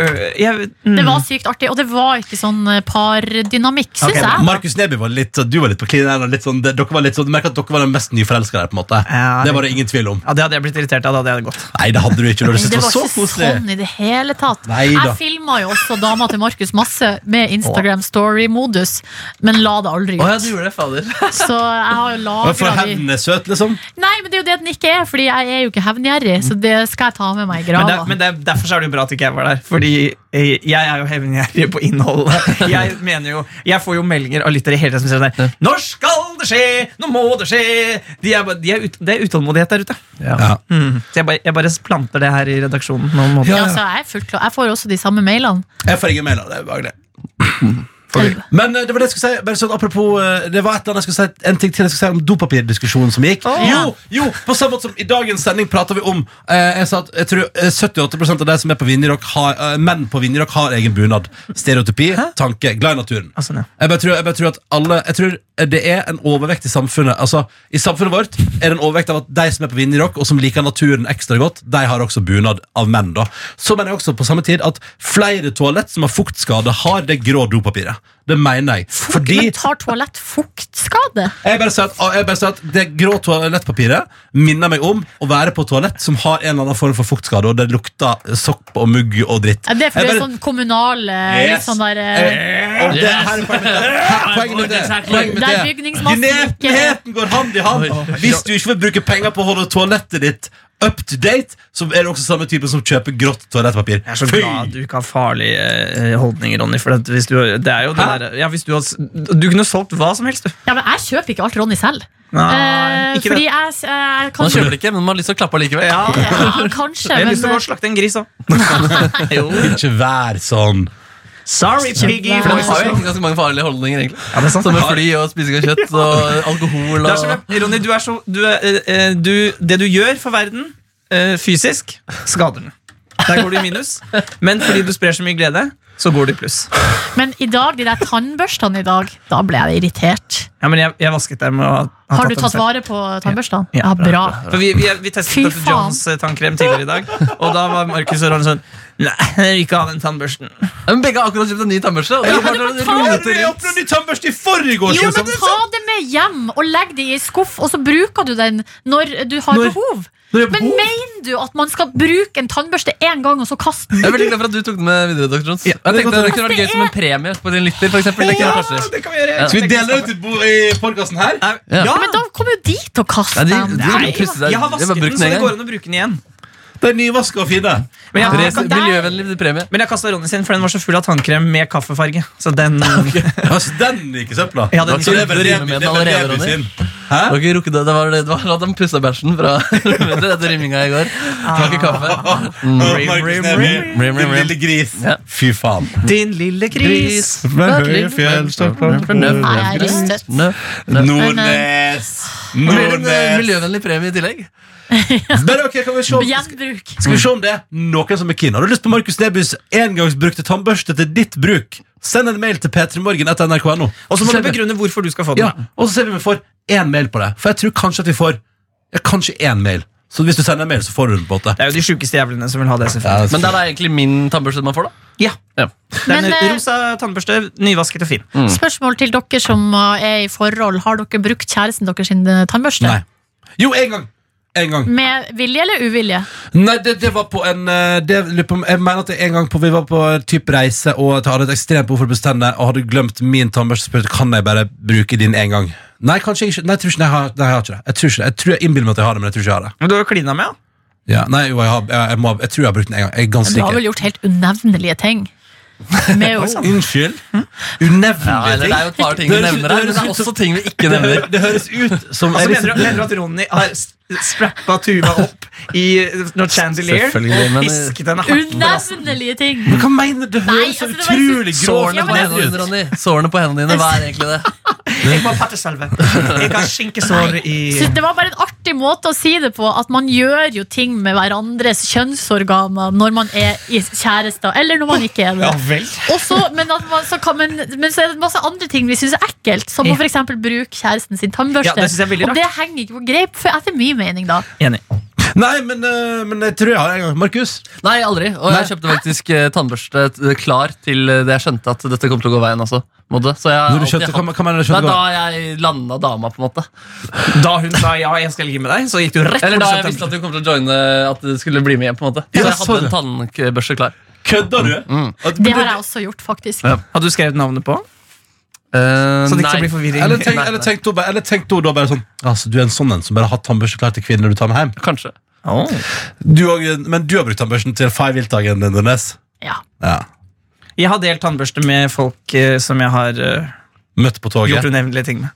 D: Jeg, mm.
E: Det var sykt artig, og det var ikke sånn eh, pardynamikk, syns
D: Ok,
E: jeg.
B: Markus Neby var litt Du var litt på klinen. og Litt sånn, det- dere var litt sånn, du merker at dere var den mest nyforelska der. på en måte
D: Ja,
B: Det var det ingen tvil om.
D: Ja, Det hadde jeg blitt irritert av. da hadde jeg gått
B: Nei, det hadde du ikke. Du hadde
E: Men
B: syntes det
E: det var
B: var så
E: ikke
B: koselig.
E: sånn i det hele tatt.
B: Neida.
E: Jeg filma jo også dama til Markus masse med Instagram Story-modus, men la det aldri
C: Å ja, du
E: ut.
C: gjorde det, fader.
E: Så jeg har jo
B: Hvorfor
E: lagra
B: er
E: de
B: hendene søt, liksom?
E: Nei, men det er jo det den ikke er, Fordi jeg er jo ikke hevngjerrig, så det skal jeg ta med meg i
D: Men, det,
E: grava.
D: men det, derfor så er det jo bra at ikke jeg var der. Fordi eh, jeg er jo hevngjerrig på innholdet. Jeg mener jo, jeg får jo meldinger av lyttere hele tiden som sier sånn her Når skal det skje? Nå må det skje! De er, bare- de er ut, det er utålmodighet der ute.
B: Ja.
D: Mm. Så jeg bare, jeg bare planter det her i redaksjonen. Nå må
E: Ja, så Altså, jeg, er fullt klar. jeg får også de samme mailene.
B: Jeg får ingen mail av det. er ubehagelig. Men eh, det var det jeg skulle si. Bare sånn, apropos, eh, det var et eller annet jeg skulle si En ting til jeg skulle si om dopapirdiskusjonen som gikk. Jo, jo, på samme måte som I dagens sending prater vi om eh, Jeg sa at jeg tror eh, 78 av de som er på Vinjerock, har, eh, menn på Vinjerock har egen bunad. Stereotypi, tanke, glad i naturen.
D: Altså, ja.
B: Jeg bare, tror, jeg bare tror at alle Jeg tror det er en overvekt i samfunnet. Altså, I samfunnet vårt er det en overvekt av at de som er på Vinjerock, og som liker naturen ekstra godt, de har også bunad av menn. da Så mener jeg også på samme tid at flere toalett som har fuktskade, har det grå dopapiret. Det mener jeg. Fordi
E: Men tar toalett fuktskade?
B: jeg bare sier at, jeg bare sier at det grå toalettpapiret minner meg om å være på toalett som har en eller annen form for fuktskade, og det lukter sopp og mugg og dritt.
E: Ja, Det er
B: Jeg
E: fordi det er
B: bare-
E: sånn kommunale litt
B: Yes.
E: sånn der, eh,
B: Eh, og det her er poenget mitt. Her- Poenget mitt er poenget mitt
E: Der
B: er-
E: bygningsmassen ikke-
B: Gnetenheten går hand i hand. Hvis du ikke vil bruke penger på å holde toalettet ditt up to date, så er det også samme type som kjøper grått toalettpapir.
D: Jeg er så
B: Fy!
D: glad du ikke har farlige eh, holdninger, Ronny. For at hvis du, det er jo det
B: Hæ?
D: der, ja, hvis du, har, s- du kunne solgt hva som helst, du.
E: Ja, men jeg kjøper ikke alt Ronny selv.
D: Nei,
E: Eh,
D: ikke
E: fordi
D: det.
E: jeg, s- jeg kan
C: Man kjøper det ikke, men man har lyst til å klappe allikevel.
D: Sånn Ja, jeg
E: Ja, kanskje,
D: har
E: men
D: lyst til å gå og slakte en gris òg. Jo.
B: Ikke vær sånn.
D: Sorry, piggy.
C: For de har jo egentlig ganske mange farlige holdninger, egentlig.
D: Ja, det er sant.
C: Som med fly og spising av kjøtt og alkohol
D: Det er
C: og
D: som, Ronny, du er så, du er, eh, eh, du, det du gjør for verden eh, fysisk, skader den. Der går du i minus. Men fordi du sprer så mye glede, så går du i pluss.
E: eh, Men i dag, de der tannbørstene i dag, da ble jeg irritert.
D: Ja, men jeg, jeg vasket dem. Og har,
E: Har du
D: dem
E: tatt
D: selv.
E: vare på tannbørstene?
D: Ja,
E: Ja, bra.
D: For vi, vi, vi
E: Fy
D: testet Dr.
E: faen.
D: Johns eh, tannkrem tidligere i dag, og da var Markus og Ronny sånn Nei, jeg vil ikke ha den tannbørsten.
C: Men begge har akkurat kjøpt en ny tannbørste. Og det
E: men
C: er bare
E: du må
C: å
E: ta
C: rote
E: det
C: rundt.
B: åpna ny tannbørste i forgårs!
E: Jo, men ta det med hjem og legg det i en skuff, og så bruker du den når du har
B: Når-
E: behov.
B: når jeg har
E: Men
B: behov.
E: mener du at man skal bruke en tannbørste én gang, og så kaste den?
C: Jeg er veldig glad for at du tok den med videre, Dr. Jones.
B: Ja,
C: jeg
B: det er
C: tenkte
B: godt.
C: Det kunne vært gøy som en premie på din lytter. For eksempel. det kunne vært artig.
D: det kan vi gjøre.
C: Ja.
B: Skal vi dele det ut i bo- i podkasten her?
C: Ja.
D: Nei, ja.
E: Men da kommer jo de til å
C: Nei,
E: kaste
C: de,
E: den.
C: de,
E: Nei,
C: pusse seg.
D: Jeg har
C: De
D: vasket
C: brukt
D: den, så det
C: en
D: går
C: gang.
D: an å bruke den igjen.
B: Det er nyvaska og fine.
D: Men jeg,
E: Ja.
D: har-
C: Therese, Miljøvennlig premie.
D: men jeg kasta Ronny sin, for den var så full av tannkrem med kaffefarge. Så den
B: Altså, den gikk i søpla.
D: Ja, den
B: Så det er bare
C: gikk-
B: Remi-
C: det rimer med
B: det er bare
C: allerede,
B: Remi
C: Ronny.
B: sin. Hæ?
C: Det var ikke rukket det. Det var, det var at han pussa bæsjen fra etter rymminga i går. Det var ikke kaffe.
B: Å, Markus
D: rim,
B: Neby,
D: rim,
C: rim, rim,
B: din
C: rim.
B: lille gris.
C: Ja.
B: Fy faen.
D: Din lille
C: Gris.
D: gris.
E: Nei, jeg er rystet.
C: Nø. Nø.
B: Nordnes!
C: Og blir det en eh,
B: Nordnes!
C: Miljøvennlig premie i tillegg.
B: Men ok, kan vi se om-
E: Gjenbruk.
B: Skal vi se om det er noen som er keen. Har du lyst på Markus Nebys engangsbrukte tannbørste til ditt bruk? Send en mail til p3morgen etter nrk.no.
D: Og så må du begrunne hvorfor du skal få den.
B: Ja, og så ser vi om vi får én mail på det. For jeg tror kanskje at vi får ja, kanskje én mail. Så hvis du sender en mail, så får du den på en måte.
D: Det er jo de sjukeste jævlene som vil ha det. selvfølgelig
C: Men det er da egentlig min tannbørste man får, da.
D: Ja.
C: Ja.
D: Det er
E: Men,
D: en
E: eh,
D: rosa tannbørste, nyvasket og fin.
B: Mm.
E: Spørsmål til dere som uh, er i forhold. Har dere brukt kjæresten deres sin uh, tannbørste?
B: Nei. Jo, én gang. En gang.
E: Med vilje eller uvilje?
B: Nei, det, det var på en eh, det, lurer på om- Jeg mener at det er en gang på, vi var på eh, typ reise og jeg hadde et ekstremt behov for å pusse tennene og hadde glemt min tannbørste. spurte kan jeg bare bruke din en gang. Nei, kanskje ikke. Nei, jeg tror ikke, nei, jeg har, nei, jeg har ikke det. Jeg tror ikke det. Jeg tror jeg innbiller meg at jeg har det, men jeg tror ikke jeg har det.
D: Men du har jo klina med, ja.
B: Ja, nei, jo, jeg, har, jeg, jeg, må, ha- jeg tror jeg har brukt den en gang. Jeg er ganske
E: Du har vel
B: sikker.
E: gjort helt unevnelige ting. Med å
B: Unnskyld?
C: Ja, eller
B: Unevnelige
C: det er jo et par ting
B: Det
C: vi
B: høres-
C: nevner
B: det
C: her, men det
B: høres
C: er
B: ut som-
C: også ting vi ikke
B: ting.
C: nevner.
B: Det høres ut som
D: Altså, mener, du, mener du at Ronny har s- sprappa Tuva opp i eh, noe chandelier?
C: Selvfølgelig, men-
D: Pisket henne hardt?
E: Unevnelige ting!
B: Men hva mener du? Det
E: Nei,
B: høres så
E: altså, det var
B: utrolig
E: så-
B: grovt
C: Sårene på
E: Ja, men det-
C: hendene dine, Ronny. Sårene på hendene dine, hva er egentlig det?
D: Jeg må ha pattesalve. Jeg har skinkesår i
E: Så det var bare en artig måte å si det på, at man gjør jo ting med hverandres kjønnsorganer når man er i kjærester, eller når man ikke er det.
D: Ja vel.
E: Og så- men, at man, så kan, men, men så er det masse andre ting vi syns er ekkelt, som å for eksempel bruke kjæresten sin tannbørste.
D: Ja, det synes jeg er veldig
E: og det henger ikke på greip, for etter min mening, da.
D: Enig.
B: Nei, men, eh, men jeg tror jeg har det en gang. Markus?
C: Nei, aldri. Og jeg kjøpte faktisk eh, tannbørste eh, klar til eh, det jeg skjønte at dette kom til å gå veien også. på en Måte. Så jeg har
B: Når du
C: alltid
B: skjønte-
C: hatt-
B: hva- hva mener du
C: Nei,
B: skjønte
C: da jeg landa dama, på en måte.
D: Da hun sa ja, jeg skal ligge med deg, så gikk du rett
C: Eller da jeg
D: bort
C: visste at du kom til å joine At du skulle bli med hjem. på en måte Så
B: Ja,
C: jeg hadde
B: sorry.
C: en tannbørste klar.
B: Kødder du? At-
E: Det har jeg også gjort, faktisk.
C: Ja.
D: Hadde du skrevet navnet på?
C: Eh,
D: Så det ikke
C: nei.
D: skal bli forvirring.
B: Eller tenk,
C: Nei,
B: eller
C: nei.
B: tenk, da bare- eller tenk da, da bare sånn Altså, Du er en sånn en som bare har tannbørste klar til kvinner du tar med hjem.
C: Kanskje.
D: Åh.
B: Du og, men du har brukt tannbørsten til Five Wilt-dagen din, Nordnes.
E: Ja.
B: Ja.
D: Jeg har delt tannbørste med folk eh, som jeg har eh,
B: Møtt på toget.
D: gjort unevnelige ting med.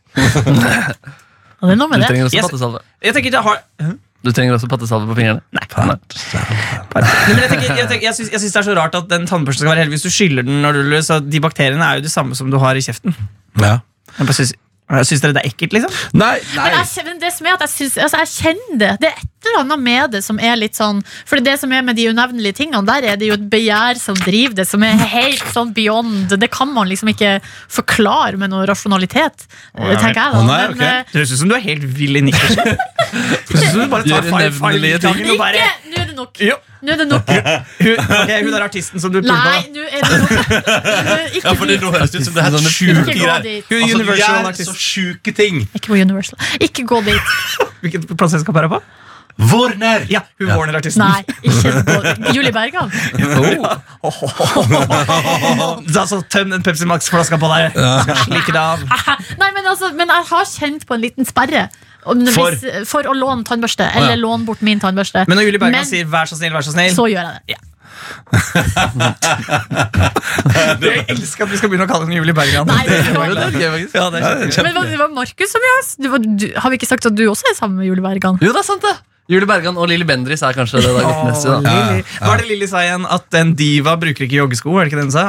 E: Og det er noe
C: Du
E: med det.
C: trenger også
D: Yes.
C: pattesalve
D: Jeg tenker ikke jeg har Hæ?
C: Du trenger også pattesalve på fingrene. Nei.
D: Nei, men jeg, tenker, jeg, tenker, jeg, syns, jeg syns det er så rart at den tannbørsten skal være heldig hvis du skyller den. når du ruller, så De bakteriene er jo det samme som du har i kjeften.
B: Ja.
D: Jeg bare syns, jeg syns dere det er ekkelt, liksom?
B: Nei,
E: Men altså-
B: nei.
E: jeg, kjen- men det som er at jeg, syns- altså jeg kjenner det. Det er et eller annet med det som er litt sånn For det som er med de unevnelige tingene, der er det jo et begjær som driver det, som er helt sånn beyond. Det kan man liksom ikke forklare med noe rasjonalitet, tenker jeg da.
B: Å, nei, ok.
E: Men, eh,
D: Det høres ut som du er helt vill i nikkersen. Det høres ut som du bare tar
C: Gjør
D: feil-
C: unevnelige ting.
D: feil- og bare
E: ikke! Nå er det nok.
D: Jo.
E: Nå er det nok.
D: hun, ok, hun er artisten som du pulte
E: Nei,
D: på.
E: nå er det nok. Nå-
B: Ja,
E: Ikke
B: for det
E: dit.
B: nå høres ut som det er helt sjuke
E: Ikke gå
B: greier.
E: dit.
D: Hun er
B: Altså, du
D: universal
B: gjør så
D: artist.
B: sjuke ting.
E: Ikke på Universal. Ikke gå dit.
D: Hvilken plass jeg skal være på?
B: Warner!
D: Ja, hun Warner-artisten.
E: Nei, ikke gå Julie Bergan.
C: Oh,
D: Da så Tøm den Pepsi Max-flaska på deg. Slik det av.
E: Nei, men, altså, men jeg har kjent på en liten sperre. Om det
B: For?
E: blir- for å låne tannbørste, eller
B: Å, ja.
E: låne bort min tannbørste.
D: Men når Julie Bergan
E: Men-
D: sier 'vær så snill', vær så snill
E: så gjør jeg det.
D: Jeg elsker at vi skal begynne å kalle henne Julie Bergan.
E: Nei, det er
C: Jo, det
E: ikke
C: er gøy, faktisk.
D: Ja, det er kjempegøy.
E: Men hva- det var Markus som gjorde det. Du, du, har vi ikke sagt at du også er sammen med Julie Bergan?
C: Jo, det er sant, det! Julie Bergan og Lilly Bendriss er kanskje det. Da, godt
D: Åh,
C: neste, da.
D: Lilly. Hva er det Lilly sa igjen? At en diva bruker ikke joggesko? Er det ikke det hun sa?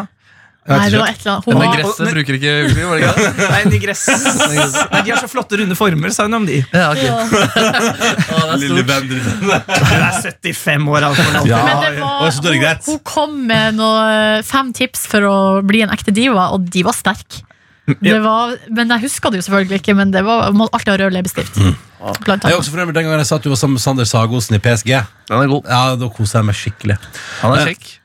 E: Nei, det var et eller annet. Hun
C: Men
E: har,
C: gresset bruker ikke Julie, var det ikke det?
D: Nei, en digress. Nei, de har så flotte, runde former, sa hun om de.
C: Ja, ok.
E: Ja.
C: Å, det er
B: Lille
C: stort.
B: Bendrissen.
D: Hun er 75 år, altså.
B: Ja.
E: Men det var,
B: og så er det
E: hun,
B: greit.
E: hun kom med noe, fem tips for å bli en ekte diva, og de var sterke. Det var, men Jeg husker det jo selvfølgelig ikke, men det var, man må alltid ha rød leppestift. Blant
B: Jeg er
E: annet.
B: også fornøyd med den gangen jeg sa at du var sammen med Sander Sagosen i PSG.
C: Den er god.
B: Ja, Da koser jeg meg skikkelig.
C: Han er kjekk.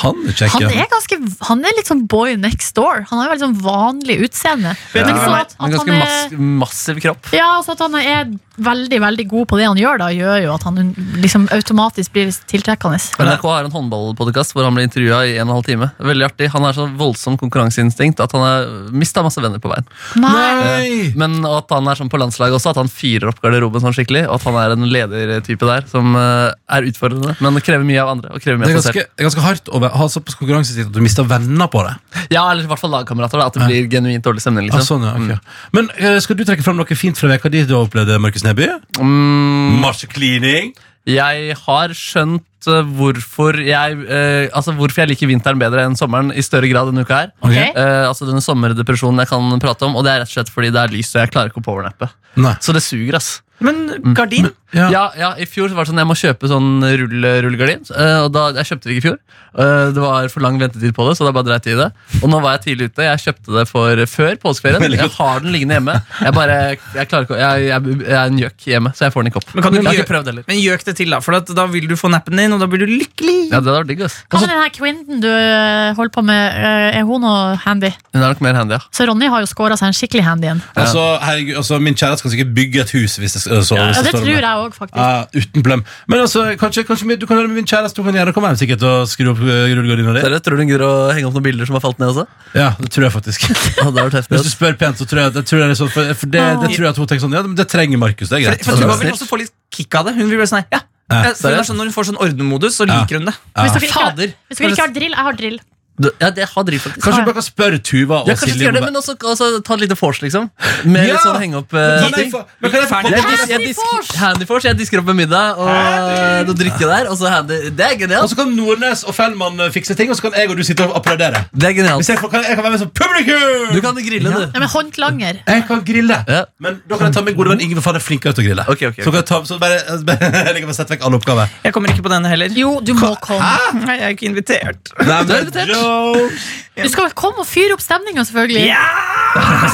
B: Han er kjekk,
E: Han
B: ja.
E: er, ganske, han er litt sånn boy next door. Han har veldig sånn vanlig utseende.
D: Vet
E: Men
D: ikke
E: så
D: hvem
E: at,
C: Han er
E: at han eh,
C: ganske
E: er,
C: mass massiv kropp.
E: ja, så at han er veldig veldig god på det han gjør, da, gjør jo at han liksom automatisk blir tiltrekkende.
C: NRK har en håndballpodkast hvor han ble intervjua i en og en halv time. Veldig artig. Han har så voldsomt konkurranseinstinkt at han har mista masse venner på veien.
E: Nei,
B: Nei!
C: Men og at han er sånn på landslaget også, at han fyrer opp garderoben sånn skikkelig. Og at han er en ledertype der som eh, er utfordrende, men krever mye av andre. og krever
B: Det
C: mye
B: er
C: av seg
B: ganske, det er ganske hardt å ha såpass konkurranseinstinkt at du mister venner på det.
C: selv. Ja, Eller i hvert fall lagkamerater. da, At det blir genuint dårlig stemning.
B: Ah,
C: liksom.
B: sånn, ja, ok. Men eh, Skal du trekke fram noe fint fra veka di du opplevde, Markus Neby?
C: Mm,
B: Masse cleaning.
C: Jeg har skjønt eh, hvorfor jeg, eh, altså hvorfor jeg liker vinteren bedre enn sommeren i større grad denne uka her.
E: Ok.
C: Eh, altså denne sommerdepresjonen jeg kan prate om, og det er rett og slett fordi det er lyst og jeg klarer ikke å powernappe.
B: Nei.
C: Så det suger, ass.
D: Men gardin?
B: Ja.
C: Ja, ja, i fjor så var det sånn jeg må kjøpe sånn rull, rullegardin, eh, og da, jeg kjøpte det ikke i fjor. Eh, det var for lang ventetid på det, så da bare dreit jeg i det. Og nå var jeg tidlig ute, jeg kjøpte det for før påskeferien. Jeg har den liggende hjemme. Jeg bare, jeg klarer ikke, å- jeg, jeg, jeg er en gjøk hjemme, så jeg får den ikke opp.
D: Men kan du
C: jeg har
D: gjø-
C: ikke prøvd heller.
D: Men gjøk det til, da. For at da vil du få nappen din, og da blir du lykkelig.
C: Ja, det hadde vært digg, ass.
E: Hva med den her kvinnen du eh, holder på med, eh, er hun noe handy?
C: Hun er nok mer handy, ja.
E: Så Ronny har jo skåra seg en skikkelig handy en.
B: Altså, herregud, altså, min kjæreste kan sikkert bygge et hus. Hvis det, så, hvis
E: Ja, det
B: står om
E: tror jeg òg, faktisk.
B: Ja, uten plem. Men altså, kanskje, kanskje min- du kan gjøre det med min kjæreste. Du kan gjerne komme hjem sikkert og skru opp eh, rullegardina di.
C: Dere, tror du hun gidder å henge opp noen bilder som har falt ned også?
B: Ja, det tror jeg faktisk.
C: Ja, det har vært heftig.
B: Hvis du
C: ass.
B: spør pent, så tror jeg, det tror jeg det er sånn, for, for det, det tror jeg at hun tenker sånn Ja, men det trenger Markus. Det er greit. Altså,
D: For Tuva
B: Ja,
D: vil også få litt kick av det. Hun vil bare sånn, ja.
B: Ja.
D: Ja, så hun er sånn, når hun får sånn ordnemodus, så liker hun det.
E: Hvis dere ikke har,
C: Fader.
E: hvis dere ikke har drill, jeg har drill.
C: Du- Ja, det har driv, faktisk.
B: Kanskje du bare kan spørre Tuva og
C: Ja, kanskje
B: Silje
C: gjøre det, men også, også ta et lite vors, liksom. Med
B: Ja!
C: litt sånn henge opp
B: Kan
C: eh,
B: jeg
C: ting.
B: få- men kan jeg få-
D: Ferdig.
C: Jeg dis- jeg
E: Handy
C: disk-
E: vors!
C: Handy vors. Jeg disker opp med middag og noe drikke der. Og så handy. Det er
B: Og
C: genialt.
B: så kan Nordnes og Fellmann eh, fikse ting, og så kan jeg og du sitte og applaudere.
C: Det er
B: Hvis
C: genialt.
B: jeg, kan, jeg kan være med som publikum!
C: Du kan grille, du.
E: Nei, men håndlanger.
B: Jeg kan grille.
C: Ja.
B: Men da kan jeg ta min gode venn Ingve, for han er flinkere til å grille.
C: Ok, ok,
B: Så kan jeg ta, så bare, jeg kan bare sette vekk alle oppgaver.
D: Jeg kommer ikke på denne heller.
E: Jo, du må komme.
D: Nei, jeg er ikke invitert.
B: Nei,
C: Du er irritert.
E: Du skal komme og fyre opp stemninga, selvfølgelig.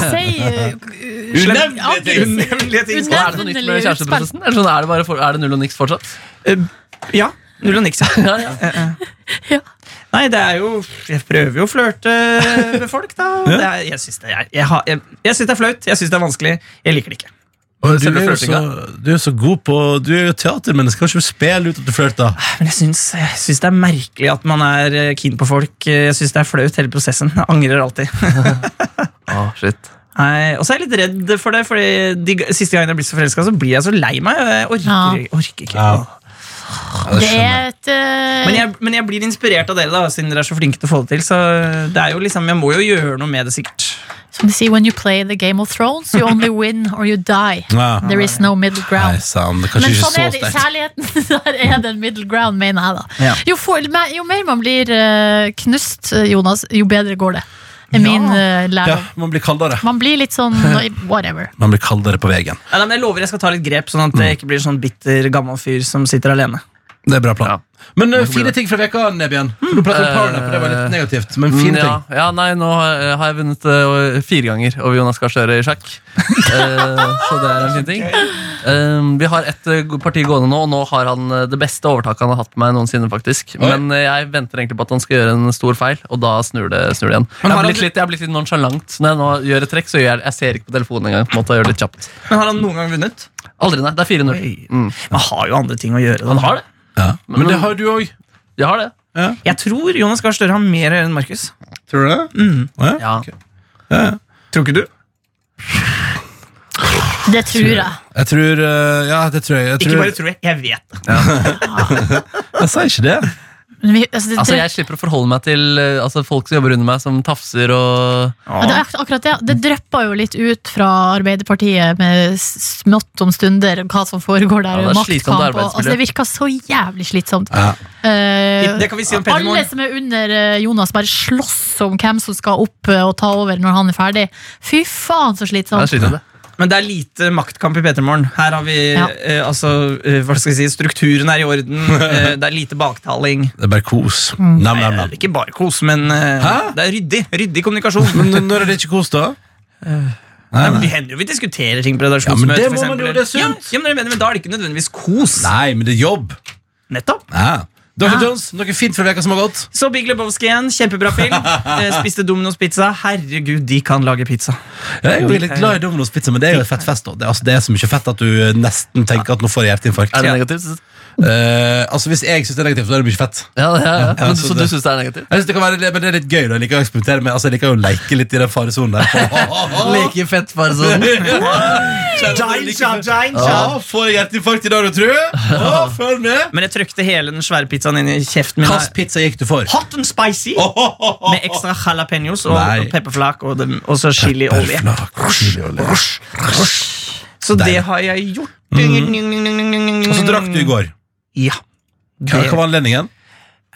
E: Si eh,
B: Unevnelige
E: Ja,
B: ting.
D: Unemlige ting.
C: Og er det noe nytt med kjæresteprosessen? Eller sånn, er, det bare for, er det null og niks fortsatt?
D: Ja. Null og niks. ja.
C: Ja, ja.
D: Nei, det er jo Jeg prøver jo å flørte med folk, da. Det er, jeg syns det, er- jeg har- jeg- jeg syns det er flaut. Jeg syns det er vanskelig. Jeg liker det ikke.
B: Og du,
C: Selve
B: er jo så, du er jo så god på Du er jo teatermenneske, kan ikke du spille ut at du flørter?
D: Men jeg syns, jeg syns det er merkelig at man er eh, keen på folk. Jeg syns det er flaut, hele prosessen. Jeg angrer alltid.
C: Å, shit.
D: Nei, Og så er jeg litt redd for det, for de g- siste gangen jeg blir så forelska, så blir jeg så lei meg. og Jeg orker, orker ikke.
B: Ja.
E: Det er et eh,
D: Men jeg, men jeg blir inspirert av dere, da, siden dere er så flinke til å få det til. Så det er jo liksom, jeg må jo gjøre noe med det, sikkert.
E: Som de sier, when you play the game of thrones, you only win or you die.
B: Ja.
E: There is no middle
B: Nei,
E: ground.
B: sann. Det er
E: Men
B: kanskje ikke
E: sånn
B: så
E: er det i
B: sterkt.
E: kjærligheten. Der er det en middle ground, mener jeg, da.
D: Ja.
E: Jo, for, men- jo mer man blir eh, knust, eh, Jonas, jo bedre går det. Er min eh,
B: Ja,
E: lærdom.
B: man blir kaldere.
E: Man blir litt sånn whatever.
B: Man blir kaldere på veien.
D: Nei, nei, men Jeg lover jeg skal ta litt grep, sånn at jeg ikke blir sånn bitter gammel fyr som sitter alene.
B: Det er bra plan.
C: Ja.
B: Men eh, fine ting fra veka, Nebjørn. Du pratet om powernap, og det var litt negativt. Men fine
C: mm, ja,
B: ting.
C: ja, nei, nå har jeg- har jeg vunnet eh, fire ganger over Jonas Gahr Støre i sjakk. Eh, så det er en fin ting. Eh, vi har ett eh, parti gående nå, og nå har han eh, det beste overtaket han har hatt på meg noensinne. faktisk
B: Oi.
C: Men eh, jeg venter egentlig på at han skal gjøre en stor feil, og da snur det, snur det igjen. Jeg
D: har
C: har,
D: han
C: blitt
D: bl-
C: litt, jeg har blitt litt nonchalant. Så Når jeg nå gjør et trekk, så gjør jeg, jeg ser ikke på telefonen engang. på en måte, jeg gjør det litt kjapt
D: Men har han noen gang vunnet?
C: Aldri, nei. Det er 4-0. Mm.
D: Man har jo andre ting å gjøre. Da.
C: Han har det.
B: Ja. Men det har du òg.
C: Jeg har det.
D: Jeg tror Jonas Gahr Støre har mer å gjøre enn Markus.
B: Tror du det?
C: Ja.
D: Tror ikke du?
E: Det tror jeg.
B: Jeg tror eh, Ja, det tror jeg. jeg tror,
D: Ikke bare tror jeg, jeg vet det.
B: Jeg sier ikke det.
E: Men vi, altså, det,
C: Altså,
E: det,
C: Jeg slipper å forholde meg til eh, altså, folk som jobber under meg, som tafser og
E: ja, det, er ak- akkurat det, det drypper jo litt ut fra Arbeiderpartiet med s- smått om stunder om hva som foregår der.
C: Ja, det er
E: og
C: slitsomt
E: maktkamp og-
C: arbeidsmiljø.
E: altså, det virker så jævlig slitsomt.
B: Ja.
E: Eh,
D: Det kan vi si om Petter i
E: alle
D: morgen.
E: som er under eh, Jonas, bare slåss om hvem som skal opp eh, og ta over når han er ferdig. Fy faen, så
C: Jeg
E: slitsomt.
C: sliter med det.
D: Men det er lite maktkamp i Petter i morgen. Her har vi
E: Ja.
D: eh, altså, eh, hva skal jeg si, strukturen er i orden. eh, det er lite baktaling.
B: Det er bare kos. Nam, nam,
D: Eh,
B: nam.
D: Ikke bare kos, men eh,
B: Hæ?
D: det er ryddig. Ryddig kommunikasjon.
B: Men n- når er det ikke kos, da? Nei,
D: Nei, men
B: nei.
D: Det hender jo vi diskuterer ting på
B: Ja, men
D: redaksjonsmøtet.
B: det
D: for
B: må man
D: eksempel.
B: jo, det er sunt.
D: Ja, ja, men, jeg mener, men da er det ikke nødvendigvis kos.
B: nei, men det er jobb.
D: Nettopp.
B: Ja. Dr. Jones, noe fint fra veka som har gått?
D: Så Big Lebowski igjen. Kjempebra film. Eh, Spiste Domino's pizza. Herregud, de kan lage pizza.
B: Jeg er jo litt glad i Domino's pizza, men det er jo et fett fest. nå. Det, er- altså, det er så mye fett at du eh, nesten tenker at nå får jeg hjerteinfarkt.
C: Er det
D: Ja.
C: negativt?
B: Eh, altså, hvis jeg syns det er negativt, så er det mye fett.
C: Ja, ja, ja. Men,
B: så
C: så du
B: det-
C: syns det er negativt?
B: Jeg synes det kan være, men det er litt gøy. Da. Jeg liker å eksperimentere med Altså, jeg liker jo å leke litt i den faresonen der.
C: Like fett, bare sånn.
B: Ja, får jeg hjerteinfarkt i dag, du tror? Ja, følg med!
D: Men jeg trykte hele den svære pizzaen inn i kjeften min.
B: Hvilken pizza gikk du for?
D: Hot and spicy med ekstra jalapeños og
B: Nei.
D: pepperflak og, dem- og så chiliolje.
B: Og Deilig.
D: Så
B: Mm.
D: det har jeg gjort. Og
B: så drakk du i går.
D: Mm. Ja.
B: Hva hva var anledningen?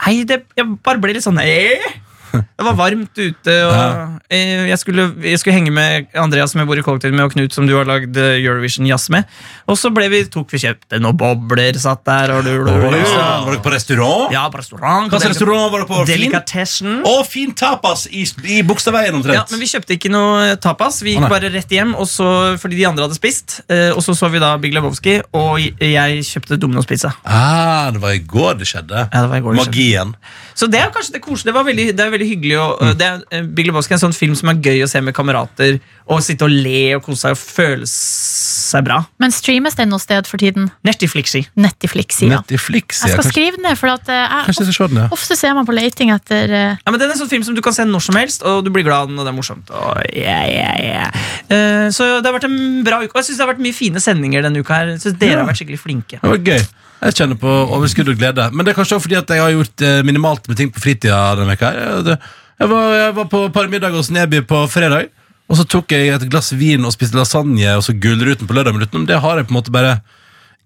D: Nei, det, jeg bare ble litt sånn eh. Det var varmt ute, og
B: Ja.
D: eh, jeg, skulle, jeg skulle henge med Andreas som jeg bor i kollektiv med, og Knut som du har lagd eh, Eurovision Jazz med. Og så ble vi, tok vi kjøpte noen bobler, satt der og du, du,
B: Var
D: du, så-
B: dere på restaurant?
D: Ja, på restaurant.
B: Hva slags restaurant var dere på? Fin?
D: Delikatessen.
B: Å, fin tapas i, i Bogstadveien,
D: Ja,
B: omtrent.
D: men vi kjøpte ikke noe tapas.
B: Å,
D: Vi gikk
B: nei.
D: bare rett hjem og så, fordi de andre hadde spist. eh, Og så så vi da Big Lebowski, og jeg kjøpte Domino's pizza.
B: Ah, det var i går det skjedde.
D: Ja, det var i går det skjedde.
B: Magien.
D: Så det er kanskje det koselige. Det, var veldig, det er veldig hyggelig. å-
B: Mm.
D: det er, eh, Big Lebowski er en sånn film som er gøy å se med kamerater. Og sitte og le og kose seg og føle seg bra.
E: Men streames den noe sted for tiden?
D: Nettiflixi.
E: Nettiflix-sida.
B: Netflix,
E: Jeg
B: ja.
E: skal
B: Kanskje,
E: skrive den ned, for at, eh,
B: kanskje
E: jeg,
B: jeg skal se den, ja.
E: ofte ser man på leiting etter eh,
D: Ja, men Den er en sånn film som du kan se når som helst, og du blir glad når det er morsomt. Og ja, ja, ja. Eh, så det har vært en bra uke. Og jeg synes det har vært mye fine sendinger denne uka. her. Jeg synes Dere har vært skikkelig flinke.
B: Det var gøy. Jeg kjenner på overskudd og glede. Men det er kanskje også fordi at jeg har gjort eh, minimalt med ting på fritida denne veka. her. Jeg, det- jeg, var, jeg var på parmiddag hos Neby på fredag, og så tok jeg et glass vin og spiste lasagne og så Gullruten på lørdag. Men utenom det har jeg på en måte bare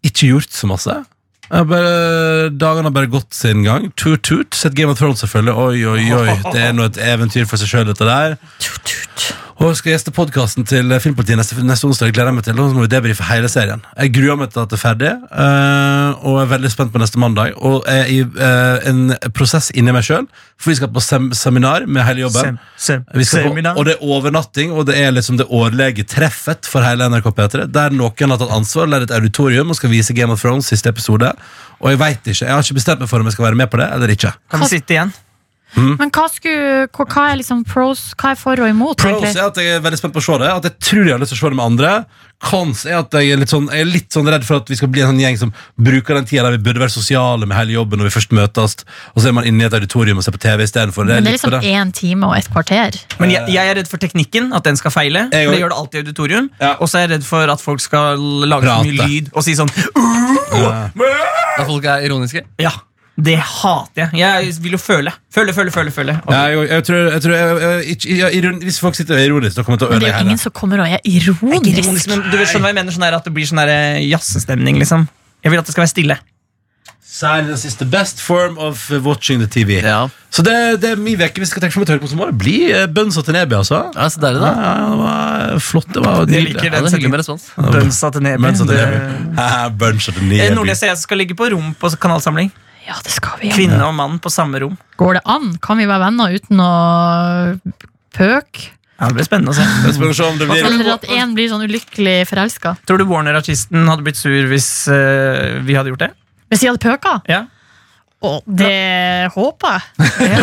B: ikke gjort så masse. Jeg har bare, dagene har bare gått sin gang. Tut-tut. Sett Game of Thrones, selvfølgelig. Oi, oi, oi. Det er nå et eventyr for seg sjøl, dette der. Og jeg skal gjeste podkasten til eh, Filmpolitiet neste, neste onsdag. Jeg gleder jeg meg til. Og så må vi debrife hele serien. Jeg gruer meg til at det er ferdig, eh, og er veldig spent på neste mandag. Og er i eh, en prosess inni meg sjøl, for vi skal på sem seminar med hele jobben.
D: Sem- sem-
B: Vi skal på,
D: seminar.
B: og det er overnatting, og det er liksom det årlige treffet for hele NRK P3. Der noen har tatt ansvar, der er et auditorium og skal vise Game of Thrones siste episode. Og jeg vet ikke, jeg har ikke bestemt meg for om jeg skal være med på det eller ikke.
D: Kan vi sitte igjen?
E: Men hva, skulle, hva, hva er liksom pros, hva er for og imot?
B: Pros
E: egentlig?
B: er at jeg er veldig spent på å se det. At jeg tror jeg har lyst til å se det med andre. Cons er at jeg er litt sånn, jeg er litt sånn redd for at vi skal bli en sånn gjeng som bruker den tida der vi burde være sosiale med hele jobben når vi først møtes, og så er man inne i et auditorium og ser på TV istedenfor. Det er
E: Men det er
B: litt
E: liksom
B: for det.
E: én time og et kvarter.
D: Men jeg, jeg er redd for teknikken, at den skal feile.
B: Jeg
D: For
B: òg.
D: det gjør det alltid i auditorium.
B: Ja.
D: Og så er jeg redd for at folk skal lage så mye
B: Prate.
D: lyd og si sånn
C: Da folk er ironiske.
D: Ja, det hater jeg. Jeg vil jo føle. Føle, føle, føle. føle. Og-
B: Ja, jeg, jeg tror, jeg tror jeg, jeg, ikke- ja, iron- Hvis folk sitter og er ironisk, da kommer jeg til å
E: Men det er
B: ødelegge
E: jo
B: hele.
E: ingen som kommer og er
D: Ikke
E: ironisk.
D: ironisk, men du vet skjønner hva jeg mener? Sånn der, at det blir sånn der, eh, jazzestemning, liksom. Jeg vil at det skal være stille.
B: Silence is the best form of eh, watching the TV.
C: Ja,
B: Så det, det er min uke. Vi skal tenke på et høydepunkt som må det bli eh, bønsa til Neby, altså.
C: ja så deilig, da.
B: Ja, ja, det var flott. Det var
D: Jeg
B: nydelig.
D: liker
C: Ja, det er hyggelig med respons.
D: Bønsa til Neby.
B: Bønsa til Neby.
D: Det-
B: Haha, Bønsa til
D: Eh,
B: Neby.
D: Nordnes og jeg skal ligge på rom på kanalsamling.
E: Ja, det skal vi. ja.
D: Kvinne og mann på samme rom.
E: Går det an? Kan vi være venner uten å pøke?
D: Ja, det blir spennende å se.
B: Jeg spør ikke om det blir
E: Eller at én blir sånn ulykkelig forelska?
D: Tror du Warner-artisten hadde blitt sur hvis eh, vi hadde gjort det?
E: Hvis vi hadde pøka?
D: Ja.
E: Og det håper jeg.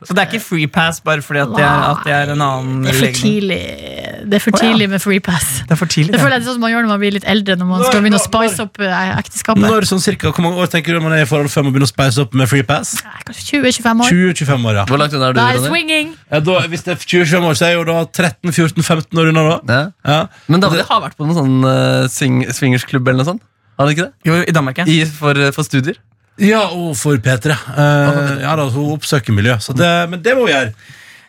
D: Så det er ikke free pass bare fordi at det er, at det er en annen
E: Det er for
D: legning?
E: tidlig, det er
D: Å,
E: for
D: ja.
E: tidlig med free pass.
D: Det er for tidlig.
E: Det
D: det.
E: føler jeg det er sånn man gjør når man blir litt eldre, når man skal
B: Når-
E: begynne å
B: når-
E: spice opp eh, ekteskapet.
B: Når sånn cirka, Hvor mange år tenker du man er i forhold før man begynner å speise opp med free pass?
E: Nei, Kanskje 20-25 år.
B: 20-25 år, ja.
C: Hvor langt unna er du,
E: Da er det
C: Ronny?
E: swinging.
B: ja da, hvis det er 20-25 år, så er jeg jo da 13-14-15 år unna da.
C: Ja.
B: Ja.
C: Men David har vært på noen sånn eh, swing, swingersklubb eller noe sånt? Har han ikke det?
D: Jo, i Danmark, ja.
C: I, for, eh, for studier?
B: Ja, og for P3. Eh, ja da, hun oppsøker miljø. Så det, men det må vi gjøre.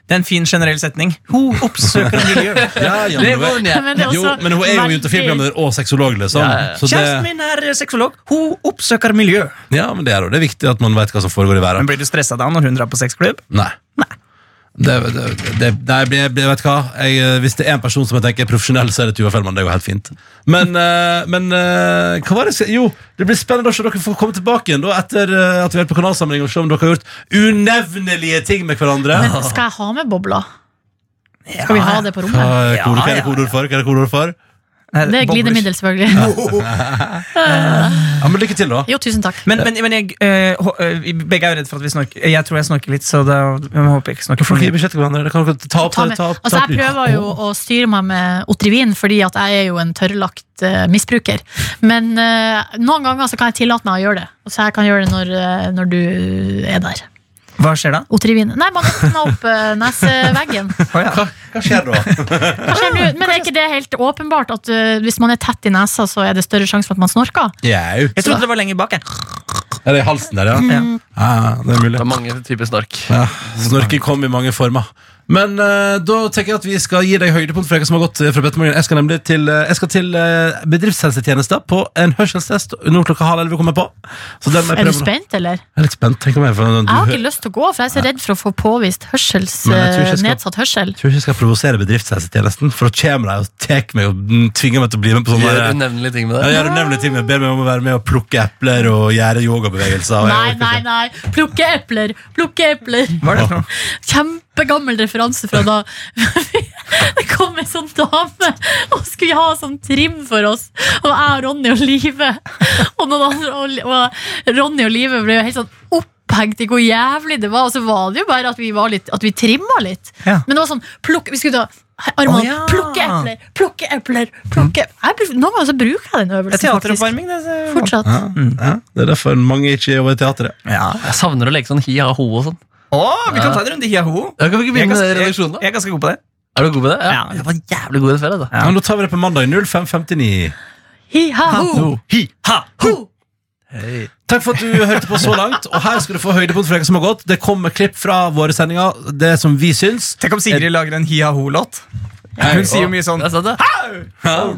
D: Det er en fin generell setning. Ho, oppsøker miljø.
B: Ja, ja, men, hun er-
E: Men, det er
B: jo,
E: også
B: men hun er jo juntafilmprogramleder og sexolog, liksom.
C: Ja, ja, ja.
B: Så det,
D: Kjæresten min er eh, sexolog. Ho, oppsøker miljø.
B: ja, men det er, jo- det er viktig at man vet hva som foregår i verden.
D: Men Blir du stressa da når hun drar på sexklubb?
B: Nei. Det, det, det, nei, jeg blir- jeg blir- vet du hva? Jeg, eh, hvis det er en person som jeg tenker er profesjonell, så er det Tuva Fellmann. Det går helt fint. Men, eh, men eh, hva var det jeg sa? Jo, det blir spennende å se dere får komme tilbake igjen da, etter eh, at vi har vært på kanalsamling og se om dere har gjort unevnelige ting med hverandre.
E: Men skal jeg ha med bobler? Skal vi ha det på
B: Ah, Hva
E: rommet?
B: er kode- hva er det
D: Ja, ja,
B: kodeord for? Hva er det kodeord for?
E: Det
D: Eh,
E: er glidemiddel, selvfølgelig.
B: Ja, men lykke til, da.
E: Jo, tusen takk.
D: Men, men, men jeg, eh, hå- eh, vi begge er jo redd for at vi snorker. Eh, Jeg tror jeg snorker litt, så da, jeg håper jeg ikke snorker for
B: Folk gir
D: mye.
B: beskjed til hverandre. Det kan dere ta opp,
E: Ta
B: ta,
E: med.
B: ta opp,
E: Altså,
B: ta opp.
E: jeg prøver jo å styre meg med Otrivin, fordi at jeg er jo en tørrlagt eh, misbruker. Men eh, noen ganger så kan jeg tillate meg å gjøre det. Så jeg kan gjøre det når, eh, når du er der.
D: Hva skjer da?
E: Otrivin. Nei, man åpner opp eh, neseveggen.
D: Å, ja.
B: Hva skjer da?
E: Hva skjer nå? Men er ikke det helt åpenbart at eh, hvis man er tett i nesa, så er det større sjanse for at man snorker?
B: Jau.
D: Jeg trodde det var lenger bak. Jeg.
B: Er det i halsen der, ja?
D: Ja.
B: Ja, det er mulig.
C: Det er mange typer snork.
B: Ja, Snorking kom i mange former. Men eh, da tenker jeg at vi skal gi deg høydepunkt for dere som har gått eh, fra Petermorgen. Jeg skal nemlig til, eh, jeg skal til eh, bedriftshelsetjenesten på en hørselstest nå klokka halv elleve. kommer jeg på. Så den må jeg
E: Er du
B: prøve nå.
E: spent, eller?
B: Jeg er litt spent. Tenk om jeg, får- du,
E: Jeg har
B: hø-
E: ikke lyst til å gå, for jeg er så redd for å få påvist hørsels,
B: Men jeg tror ikke jeg
E: eh,
B: skal-
E: nedsatt hørsel.
B: tror ikke jeg skal provosere bedriftshelsetjenesten, for da kommer de og tar meg og mm, tvinger meg til å bli med på sånne
C: Gjør
B: der-
C: unevnelige ting med
B: Ja,
C: det.
B: gjør unemlige ting. Jeg ber meg om å være med og plukke epler og gjøre yogabevegelser. og jeg
E: Nei,
B: orker
E: nei,
B: ikke.
E: nei. Plukke epler! Plukke epler!
D: Hva er det for noe?
E: Kjempegammel referanse fra da Det kom en sånn dame og skulle ha sånn trim for oss. Og jeg og Ronny og Live. Og, noen andre, og, og Ronny og Live ble jo helt sånn opphengt i hvor jævlig det var. Og så var det jo bare at vi, var litt, at vi trimma litt.
D: Ja.
E: Men det var sånn plukk, Vi skulle ta
D: Å,
E: armene
D: ja.
E: Plukke epler, plukke epler, plukke jeg, bru- Noen ganger så bruker jeg den
D: Det er
E: øvelsen, faktisk.
D: teateroppvarming, det. så- Mm.
E: Fortsatt.
B: Ja, det er derfor mange ikke jobber i teatret.
D: Ja.
C: Jeg savner å leke sånn hi-ha-ho og sånn.
D: Å, vi kan ta en runde hiaho.
C: Ja, Kan vi ikke
D: Jeg, er
C: begynne med
D: ganske-
C: det i
D: jeg,
C: redaksjonen, da?
D: jeg er ganske god på det.
C: Er du god med det? Ja.
D: Ja.
C: Jeg var jævlig god i det før. Altså.
D: Ja.
B: Ja, men Da tar vi det på mandag 05.59.
E: Hi-ha-ho.
B: Hi.
D: Ha!
B: Takk for at du hørte på så langt. Og her skal du få høydepunkt for dere som har gått. Det kommer klipp fra våre sendinger. Det som vi syns.
D: Tenk om Sigrid lager en hiaho-låt. Hun sier jo mye sånn
C: Det er sant,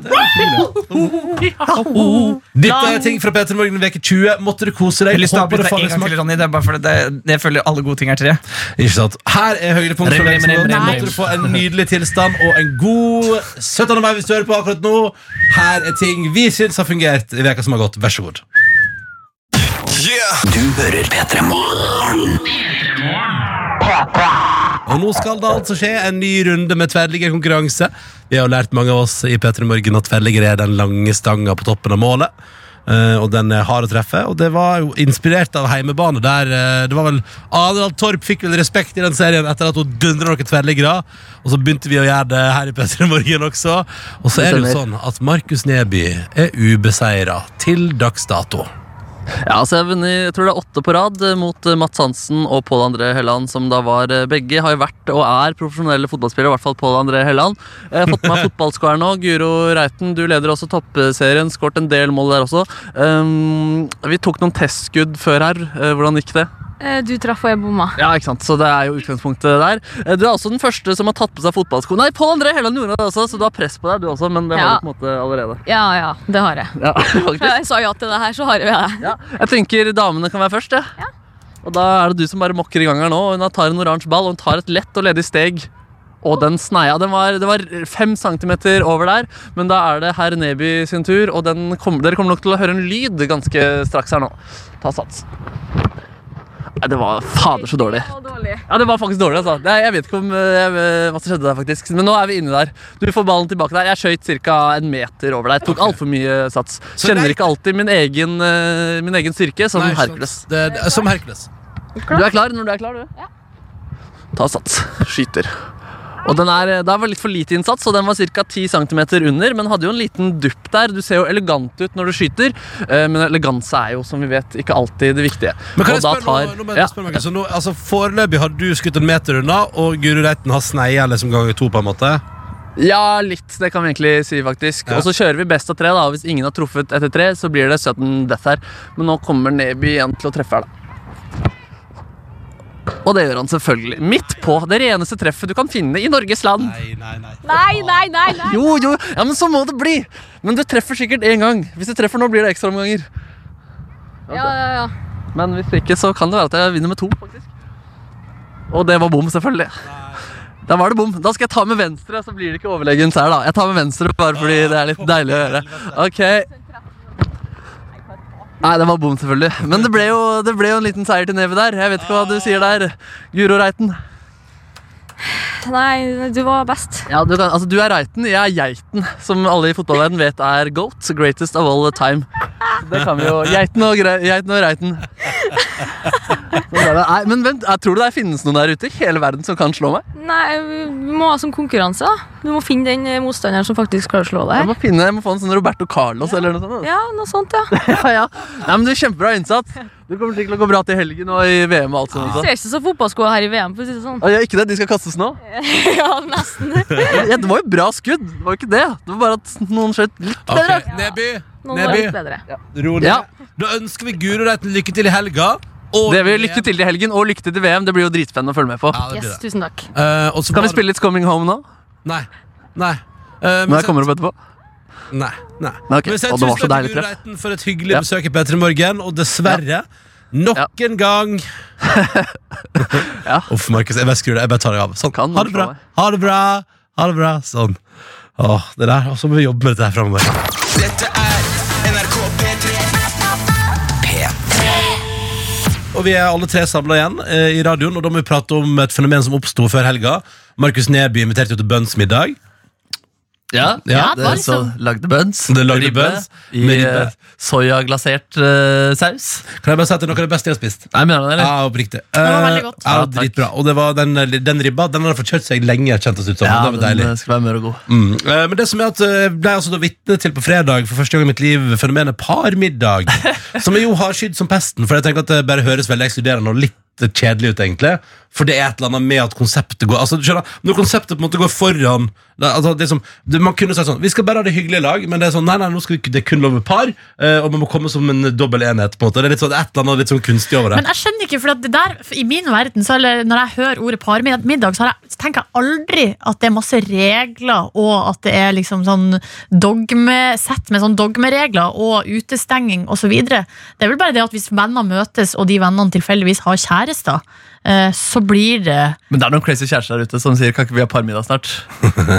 C: det.
B: Oh, Dette er ting fra Peter Morgen veke 20. Måtte du kose deg.
D: Jeg har lyst til å
B: Håper det
D: avbryte deg
B: faller
D: en gang
B: smak.
D: til, liksom. Ronny. Det er bare fordi det, det, jeg føler alle gode ting er tre.
B: Ikke sant? Her er høydepunkt. for
C: Rem,
B: dere som
C: rem,
B: har
C: rem,
B: gått.
E: rem,
B: Måtte du få en nydelig tilstand og en god 17. mai hvis du hører på akkurat nå. Her er ting vi syns har fungert i veka som har gått. Vær så god. Og nå skal det altså skje en ny runde med tverrliggerkonkurranse. Vi har jo lært mange av oss i P3 Morgen at tverrligger er den lange stanga på toppen av målet. Eh, og den er hard å treffe. Og det var jo inspirert av heimebane, der eh, det var vel Adrian Torp fikk vel respekt i den serien etter at hun dundra noen tverrliggere. Og så begynte vi å gjøre det her i P3 Morgen også. Og så er det jo sånn at Markus Neby er ubeseira til dags dato.
C: Ja, altså jeg, har vunnet, jeg tror det er åtte på rad eh, mot eh, Mats Hansen og Pål André Helland, som da var eh, begge. Har jo vært og er profesjonelle fotballspillere, i hvert fall Pål André Helland. Jeg har fått med meg fotballskoer nå. Guro Reiten, du leder også toppserien. Skåret en del mål der også. Um, vi tok noen testskudd før her. Eh, Hvordan gikk det?
F: Eh, Du traff og jeg bomma.
C: Ja, ikke sant, så det er jo utgangspunktet der. Eh, Du er også den første som har tatt på seg fotballsko. Nei, Pål André Helland gjorde det også, så du har press på deg, du også, men det har
F: Ja.
C: du på en måte allerede.
F: Ja, ja, det har jeg.
C: Ja, faktisk.
F: Jeg sa ja til det her, så har jeg det.
C: Ja, jeg tenker damene kan være først, ja. Og da er det du som bare mokker i gang her nå. og Hun tar en oransje ball og hun tar et lett og ledig steg. Og den sneia. Den var, det var fem centimeter over der, men da er det herr Neby sin tur. Og den kom, dere kommer nok til å høre en lyd ganske straks her nå. Ta sats. Nei, det var fader så dårlig.
F: Det var dårlig.
C: Ja, det var faktisk dårlig, altså. Det, jeg vet ikke om, eh, hva som skjedde der, faktisk. Men nå er vi inne der. Du får ballen tilbake der. Jeg skøyt ca. en meter over deg. Tok altfor mye sats.
B: Så
C: Kjenner
B: greit.
C: ikke alltid min egen, eh, min egen styrke som
B: Nei,
C: Hercules.
B: sant. Det, det, som Hercules.
C: Du er klar når du er klar, du? tar sats, skyter. Og den er, eh, Der var litt for lite innsats, og den var ca. 10 cm under, men hadde jo en liten dupp der. Du ser jo elegant ut når du skyter, eh, men eleganse er jo som vi vet ikke alltid det viktige.
B: Men kan
C: Og
B: jeg
C: da
B: spørre, nå,
C: tar-
B: nå må jeg
C: ja.
B: spørre meg, så nå, altså, Foreløpig har du skutt en meter unna, og Guro Reiten har sneia liksom ganger to. på en måte
C: Ja, litt. Det kan vi egentlig si, faktisk.
B: Ja.
C: Og så kjører vi best av tre. da og Hvis ingen har truffet etter tre, så blir det sudden death her. Men nå kommer Neby igjen til å treffe her, da. Og det gjør han selvfølgelig. Midt på det reneste treffet du kan finne i Norges land.
B: Nei, nei, nei
F: Nei, nei, nei! nei.
C: Jo, jo, ja, men så må det bli! Men du treffer sikkert én gang. Hvis du treffer nå, blir det ekstraomganger.
F: Ja, ja, ja.
C: Men hvis ikke, så kan det være at jeg vinner med to, faktisk. Og det var bom, selvfølgelig. Da var det bom. Da skal jeg ta med venstre, så blir det ikke overlegent her, da. Jeg tar med venstre bare fordi det er litt deilig å gjøre. Ok. Nei, det var bom, selvfølgelig. Men det ble jo, det ble jo en liten seier til Neve der. Jeg vet ikke hva du sier der, Guro Reiten.
F: Nei, du var best.
C: Ja, du, kan, altså, du er Reiten, jeg er Geiten, som alle i fotballverden vet er GOAT. Greatest of all time. Så Det kan vi jo. Geiten og, grei- geiten og Reiten. Så det er det. Nei, men vent, jeg tror du det finnes noen der ute i hele verden som kan slå meg?
F: Nei, vi må ha sånn konkurranse, da. Du må finne den eh, motstanderen som faktisk klarer å slå
C: Jeg
F: deg.
C: må, finne, jeg må få en sånn Roberto Carlos eller noe sånt. da.
F: Ja, noe sånt, ja.
C: Ja, ja. Nei, men du er Kjempebra innsats. Du kommer sikkert til å gå bra til helgen og i VM og alt sånt.
F: Du
C: også.
F: ser ikke så fotballskoa her i VM, for å si det sånn.
C: Å, ja, ikke det, de skal kastes nå?
F: Ja, nesten.
C: Ja, det var jo bra skudd. Det var jo ikke det. Det var bare at noen skjøt litt
B: Ok,
F: Bedre.
B: Neby,
F: Noen var
B: Neby,
F: litt bedre.
B: ro ned
C: Ja.
B: Da ønsker vi Guro Reiten lykke til i helga og
C: Det vil lykke til i helgen, og lykke til til VM. Det blir jo dritspennende å følge med på.
B: ja, det blir
F: Yes,
B: det.
F: tusen takk.
B: Eh, og så
C: Kan vi
B: bare-
C: spille litt Coming Home nå?
B: Nei, nei Eh,
C: Når
B: men
C: jeg kommer opp etterpå?
B: Nei. nei.
C: Nei, ok.
B: Men send
C: Og det var
B: tusen
C: så
B: takk til
C: deilig
B: Guro
C: treff.
B: Reiten for et hyggelig
C: Ja.
B: besøk i P3 Morgen, og dessverre Nok en gang
C: Ja.
B: Uff, Markus, jeg bare skrur det. Jeg bare tar det av. Sånn.
C: Kan
B: Ha det bra.
C: slå meg.
B: Ha det bra. Ha det bra. Sånn. Åh, det der. Og så må vi jobbe med dette her framover.
G: Dette er NRK P3
B: Og vi er alle tre samla igjen eh, i radioen, og da må vi prate om et fenomen som oppsto før helga. Markus Neby inviterte jo til bønnsmiddag.
C: Ja,
E: Ja, det var
C: det, så
E: liksom-
C: lagde buns.
B: Det lagde buns
C: i
B: med ribbe.
C: eh, soyaglasert eh, saus.
B: Kan jeg bare si at det er noe av det beste jeg har spist?
C: Nei, mener du det,
B: Ja,
C: eller?
B: oppriktig.
E: var veldig godt.
B: Eh, Ja,
C: Ja, takk.
B: dritbra. Og det var den, den ribba den hadde fått kjørt seg lenge, kjentes ut som.
C: Ja,
B: det var deilig.
C: den eh, skal være mør og god.
B: Mm. Eh, Men det som er at eh, jeg ble altså da vitne til på fredag for første gang i mitt liv fenomenet parmiddag. som jeg jo har skydd som pesten, for jeg tenker at det bare høres veldig ekskluderende og litt kjedelig ut, egentlig. For det er et eller annet med at konseptet går Altså, du skjønner, Når konseptet på en måte går foran det, altså, det som, det, Man kunne sagt sånn Vi skal bare ha det hyggelig i lag, men det er sånn Nei, nei, nå skal vi, ikke- det er kun lov med par, eh, og man må komme som en dobbel enhet, på en måte. Det er litt sånn, et eller annet litt sånn kunstig over det.
E: Men jeg skjønner ikke, for at det der, for i min verden, så, eller når jeg hører ordet parmiddag, så, har jeg, så tenker jeg aldri at det er masse regler, og at det er liksom sånn dogmesett med sånn dogmeregler og utestenging osv. Det er vel bare det at hvis venner møtes, og de vennene tilfeldigvis har kjærester, eh, så blir det
C: Men det er noen crazy kjærester der ute som sier kan ikke vi ha parmiddag snart?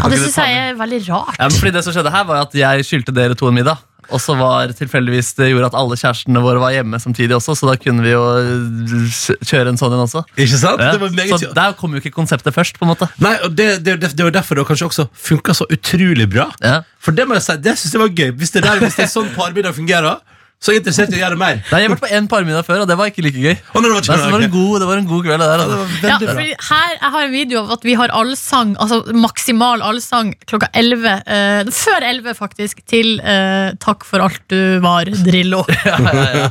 E: Ja, det
C: du
E: syns
C: ta
E: jeg er veldig rart.
C: Ja, men fordi det som skjedde her var at Jeg skyldte dere to en middag. Og så var tilfeldigvis det gjorde at alle kjærestene våre var hjemme samtidig også, så da kunne vi jo eh, kjøre en sånn en også.
B: Ikke sant?
C: Ja.
B: Det var meget
C: Så der kom jo ikke konseptet først, på en måte.
B: Nei, og det, det, det, det var derfor det kanskje også funka så utrolig bra.
C: Ja.
B: For det må jeg si, det syns jeg var gøy. Hvis det, er der, hvis det er sånn parmiddag fungerer, så er jeg interessert i å gjøre mer.
C: Nei, Jeg har vært på én parmiddag før, og det var ikke like gøy.
B: Å, nei, det var
C: Nei, så
B: ikke
C: det, var
B: noe,
C: en god, det var en god kveld. Det der, altså.
B: ok.
E: Ja,
B: Veldig
E: for
B: bra.
E: her, jeg har en video av at vi har allsang, altså maksimal allsang klokka 11, eh, før 11 faktisk, til eh, Takk for alt du var, Drillo.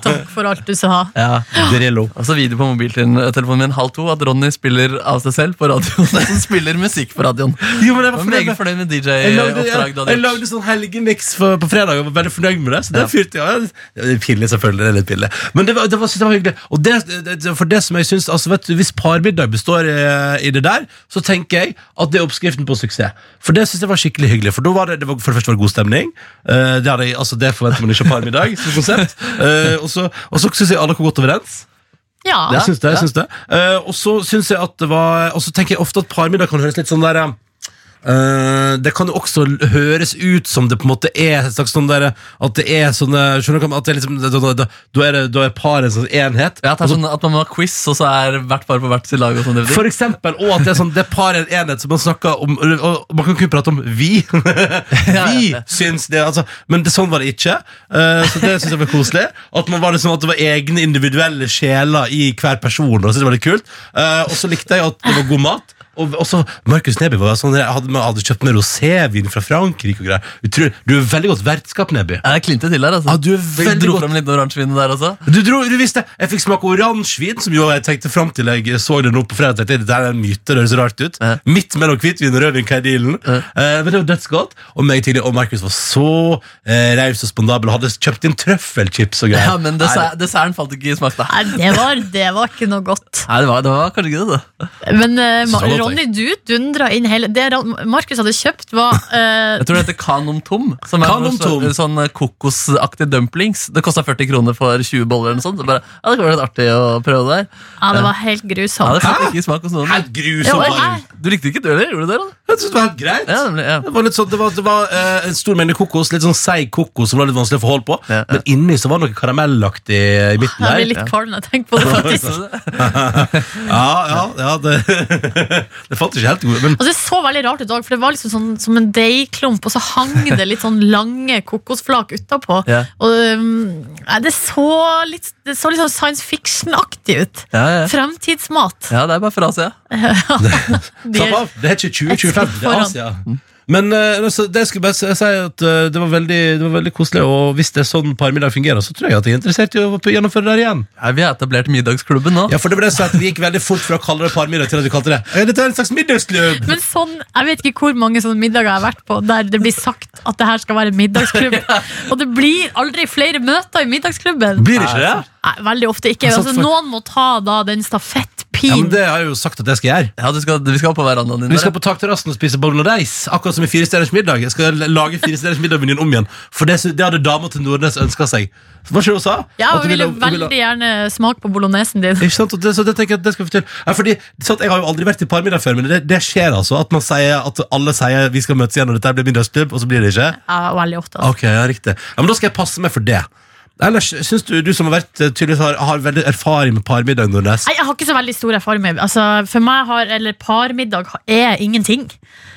E: Takk for alt du sa.
C: Ja.
B: Drillo.
C: Og så video på mobiltelefonen min halv to at Ronny spiller av seg selv på radioen. Som spiller musikk på radioen.
B: Jo, men jeg var
C: Jeg var meget
B: fornøyd.
C: fornøyd med
B: Jeg lagde,
C: DJ-oppdrag.
B: jeg,
C: du hadde
B: jeg
C: gjort.
B: lagde sånn helgemiks for- på fredag og var veldig fornøyd med det. Så det
C: Ja.
B: fyrte jeg ja, det er Pinlig, selvfølgelig. Det er litt pinlig. Men det var, det var, synes jeg var hyggelig. Og det, det, det- for det som jeg synes, altså vet du, Hvis parmiddag består i, i det der, så tenker jeg at det er oppskriften på suksess. For det syns jeg var skikkelig hyggelig. For da var det, det var, for det første var det god stemning. Eh, det, hadde jeg, altså, det forventer man ikke av parmiddag som konsept. Eh, og så, og så syns jeg alle kom godt overens.
E: Ja,
B: Jeg syns det. jeg syns det Eh, Og så syns jeg at det var Og så tenker jeg ofte at parmiddag kan høres litt sånn der eh, Eh, det kan jo også l- høres ut som det på en måte er et slags sånn der, at det er sånne Skjønner du hva jeg mener? at det er liksom, da, da, da, da er, det- da er paret en sånn enhet.
C: Ja, at, det er sånn at man må ha quiz, og så er hvert par på hvert sitt lag. Og sånn, det betyr.
B: For eksempel, og at det er sånn Det par er en enhet som man snakker om og Man kan kun prate om vi Vi syns det, altså Men det, sånn var det ikke Eh, Så det synes jeg var koselig At man var liksom, at det var egne individuelle sjeler I hver person, og det synes jeg var litt kult Eh, Og så likte jeg at det var god mat og og så Markus Neby var sånn Jeg hadde, man hadde kjøpt med rosévin fra Frankrike og greier Utrolig. Du er veldig godt vertskap, Neby
C: Jeg klinte til der, altså.
B: Ja, Ah, du er
C: Vi
B: veldig
C: dro
B: godt-
C: frem litt oransjevin der også.
B: du, dro, du visste, jeg fikk smake oransjevin, som jo jeg tenkte fram til jeg så det nå på fredag. tenkte jeg, Det der er en myte, det høres rart ut.
C: Ja.
B: Midt mellom hvitvin og rødvin, hva er dealen? Eh, men det var dødsgodt. Og meg tidlig, og Markus var så eh, raus og spandabel og hadde kjøpt inn trøffelchips og greier.
C: Ja, Men dessert, desserten falt ikke i smak. Da.
E: Nei, det var, det var ikke noe godt.
C: Nei, det var, det var kanskje ikke det. da
E: Men eh, Ma-
B: Så godt,
E: Ronny, du dundra inn hele Det Ra- Markus hadde kjøpt, var eh,
C: Jeg tror det heter Kanom Tom. Som er
B: Kanom Tom.
C: sånn, sånn kokosaktig dumplings. Det kosta 40 kroner for 20 boller. eller noe sånt. Så bare, ja, det kan være litt artig å prøve det der.
E: Ja, det var helt
C: Ja,
E: grusomt.
C: det falt ikke i smak hos noen.
B: Helt grusom
E: Ja, og-
B: varm.
E: hæ?
C: Du likte ikke det, eller? Gjorde du det? da?
B: Jeg synes det var helt greit.
C: Ja, nemlig, ja.
B: Det var, litt sånn, det var, det var eh, en stor mengde kokos, litt sånn seig kokos som var litt vanskelig å få hold på.
C: Ja, ja.
B: Men inni så var det noe karamellaktig i midten
E: Jeg
B: der.
E: blir litt kvalm når jeg tenker på det. faktisk
B: Ja, ja, ja det, det fant ikke helt god, men
E: Altså, det så veldig rart ut òg, for det var liksom sånn, som en deigklump, og så hang det litt sånn lange kokosflak utapå.
C: Ja.
E: Og um, nei, det så litt, det så litt sånn science fiction-aktig ut.
C: Ja, ja.
E: Fremtidsmat.
C: ja, det er bare frase, ja.
E: De
B: Slapp
E: er-
B: av, det er ikke 2025,
E: Et skritt
B: det er
E: foran.
B: Asia. Men eh, altså, det skulle jeg bare si si at eh, det var, veldig, det var veldig koselig, og hvis det er sånn parmiddag fungerer, så tror jeg at jeg er interessert i å gjennomføre det her igjen.
C: Nei, Vi har etablert middagsklubben nå.
B: Ja, for det ble sagt at vi gikk veldig fort fra å kalle det parmiddag til at vi kalte det «Ja, Dette er en slags middagsklubb!
E: Men sånn, jeg vet ikke hvor mange sånne middager jeg har vært på der det blir sagt at det her skal være en middagsklubb. Og det blir aldri flere møter i middagsklubben.
B: Blir det ikke det?
E: Nei, veldig ofte ikke.
B: sant,
E: Altså,
B: for-
E: noen må ta da den
B: Ja, men
E: stafettpinen.
B: det har jeg jo sagt at jeg skal gjøre.
C: Ja, du skal, Vi skal på verandaen din.
B: Vi
C: der,
B: skal
C: ja.
B: på takterrassen og spise bolognese, akkurat som i Fire stjerners middag. Jeg skal lage Fire stjerners middag-menyen om igjen, for det, det hadde dama til Nordnes ønska seg. Hva var det hun sa?
E: Ja,
B: At hun
E: jeg ville
B: ville- hun ville-
E: veldig gjerne smake på bolognesen din.
B: Ikke sant? Og det, så det tenker jeg at det skal vi til. Ja, fordi, sant, jeg har jo aldri vært i parmiddag før, men det, det skjer altså. At man sier at alle sier vi skal møtes igjen, og dette her blir middagsklubb, og så blir det ikke.
E: Ja, veldig ofte. Altså.
B: Ok, ja, riktig. Ja, men da skal jeg passe meg for det. Ellers syns du, du som har vært eh, tydeligvis har, har veldig erfaring med parmiddag, Nordnes.
E: Nei, Jeg har ikke så veldig stor erfaring med altså, For meg har, eller parmiddag er ingenting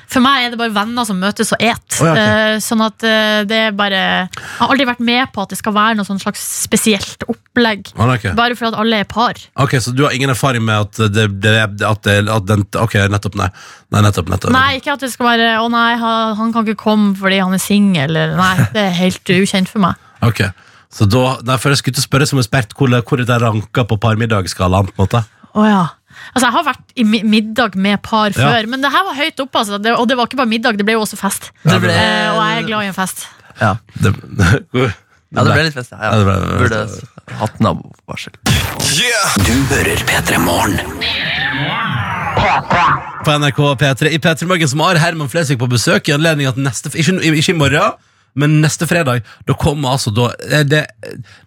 E: For meg er det bare venner som møtes og et
B: Å, ja, ok.
E: Eh, Sånn at eh, det er bare Jeg har aldri vært med på at det skal være noe sånn slags spesielt opplegg
B: Ah, ok.
E: Bare for at alle er par
B: ok, Så du har ingen erfaring med at det, det, at det at den, Ok, nettopp, nei. Nei, nettopp, nettopp.
E: Nei, ikke at det skal være Å nei, han han kan ikke komme fordi han er single eller, Nei, det er helt ukjent for meg
B: Ok, så da, nei, for jeg skulle til å spørre som ekspert hvor, hvor det der ranker på parmiddagsskalaen, på en måte.
E: Å ja. Altså, jeg har vært i mi- middag med par før, men det her var høyt oppe. Altså. Det, og det var ikke bare middag, det ble jo også fest.
C: Det ble-
E: Eh, og jeg er glad i en fest.
C: Ja.
B: Det,
C: ja, det ble litt fest. Ja,
B: Ja, det
C: ja.
B: ble-
C: Burde hatt nabovarsel.
G: Yeah.
B: på NRK P3 i P3 Morgen som har Herman Flesvig på besøk i anledning at neste, ikke, ikke i morgen, men neste fredag, da kommer altså da eh, det,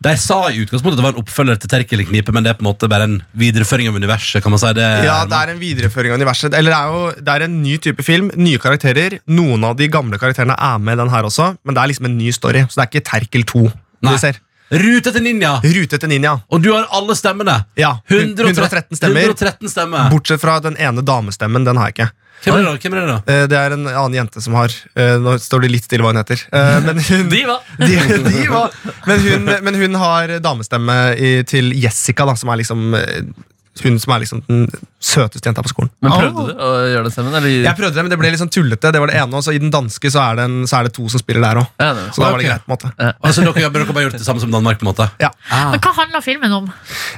B: De sa i utgangspunktet at det var en oppfølger til Terkel i knipe, men det er på en måte bare en videreføring av universet, kan man si det?
C: Eh,
H: Ja, det
B: Herman?
H: er en videreføring av universet. Eller det er jo det er en ny type film, nye karakterer. Noen av de gamle karakterene er med i den her også, men det er liksom en ny story. Så det er ikke Terkel 2.
B: Nei.
H: Du ser.
B: Rute til ninja!
H: Rute til ninja.
B: Og du har alle stemmene!
H: Ja, 113 stemmer.
B: 113 stemmer.
H: Bortsett fra den ene damestemmen. Den har jeg ikke.
B: Hvem er det da? Hvem er det da?
H: Eh, Det er en annen jente som har eh, Nå står det litt stille hva hun heter. Eh, Men hun,
C: Diva!
H: de, de var, men, hun, men hun har damestemme i, til Jessica, da, som er liksom eh, hun som er liksom den søteste jenta på skolen.
C: Men prøvde du å gjøre den stemmen? Eller?
H: Jeg prøvde det, men det ble litt sånn tullete. Det var det ene, og så I den danske så er det, en, så er det to som spiller der òg.
C: Ja, det var-
H: Så da var det
B: Ok.
H: greit. på en måte
B: Altså, dere, jobber- dere har bare gjort det samme som Danmark, på en måte?
H: ja.
B: Ah.
E: Men hva handler filmen om?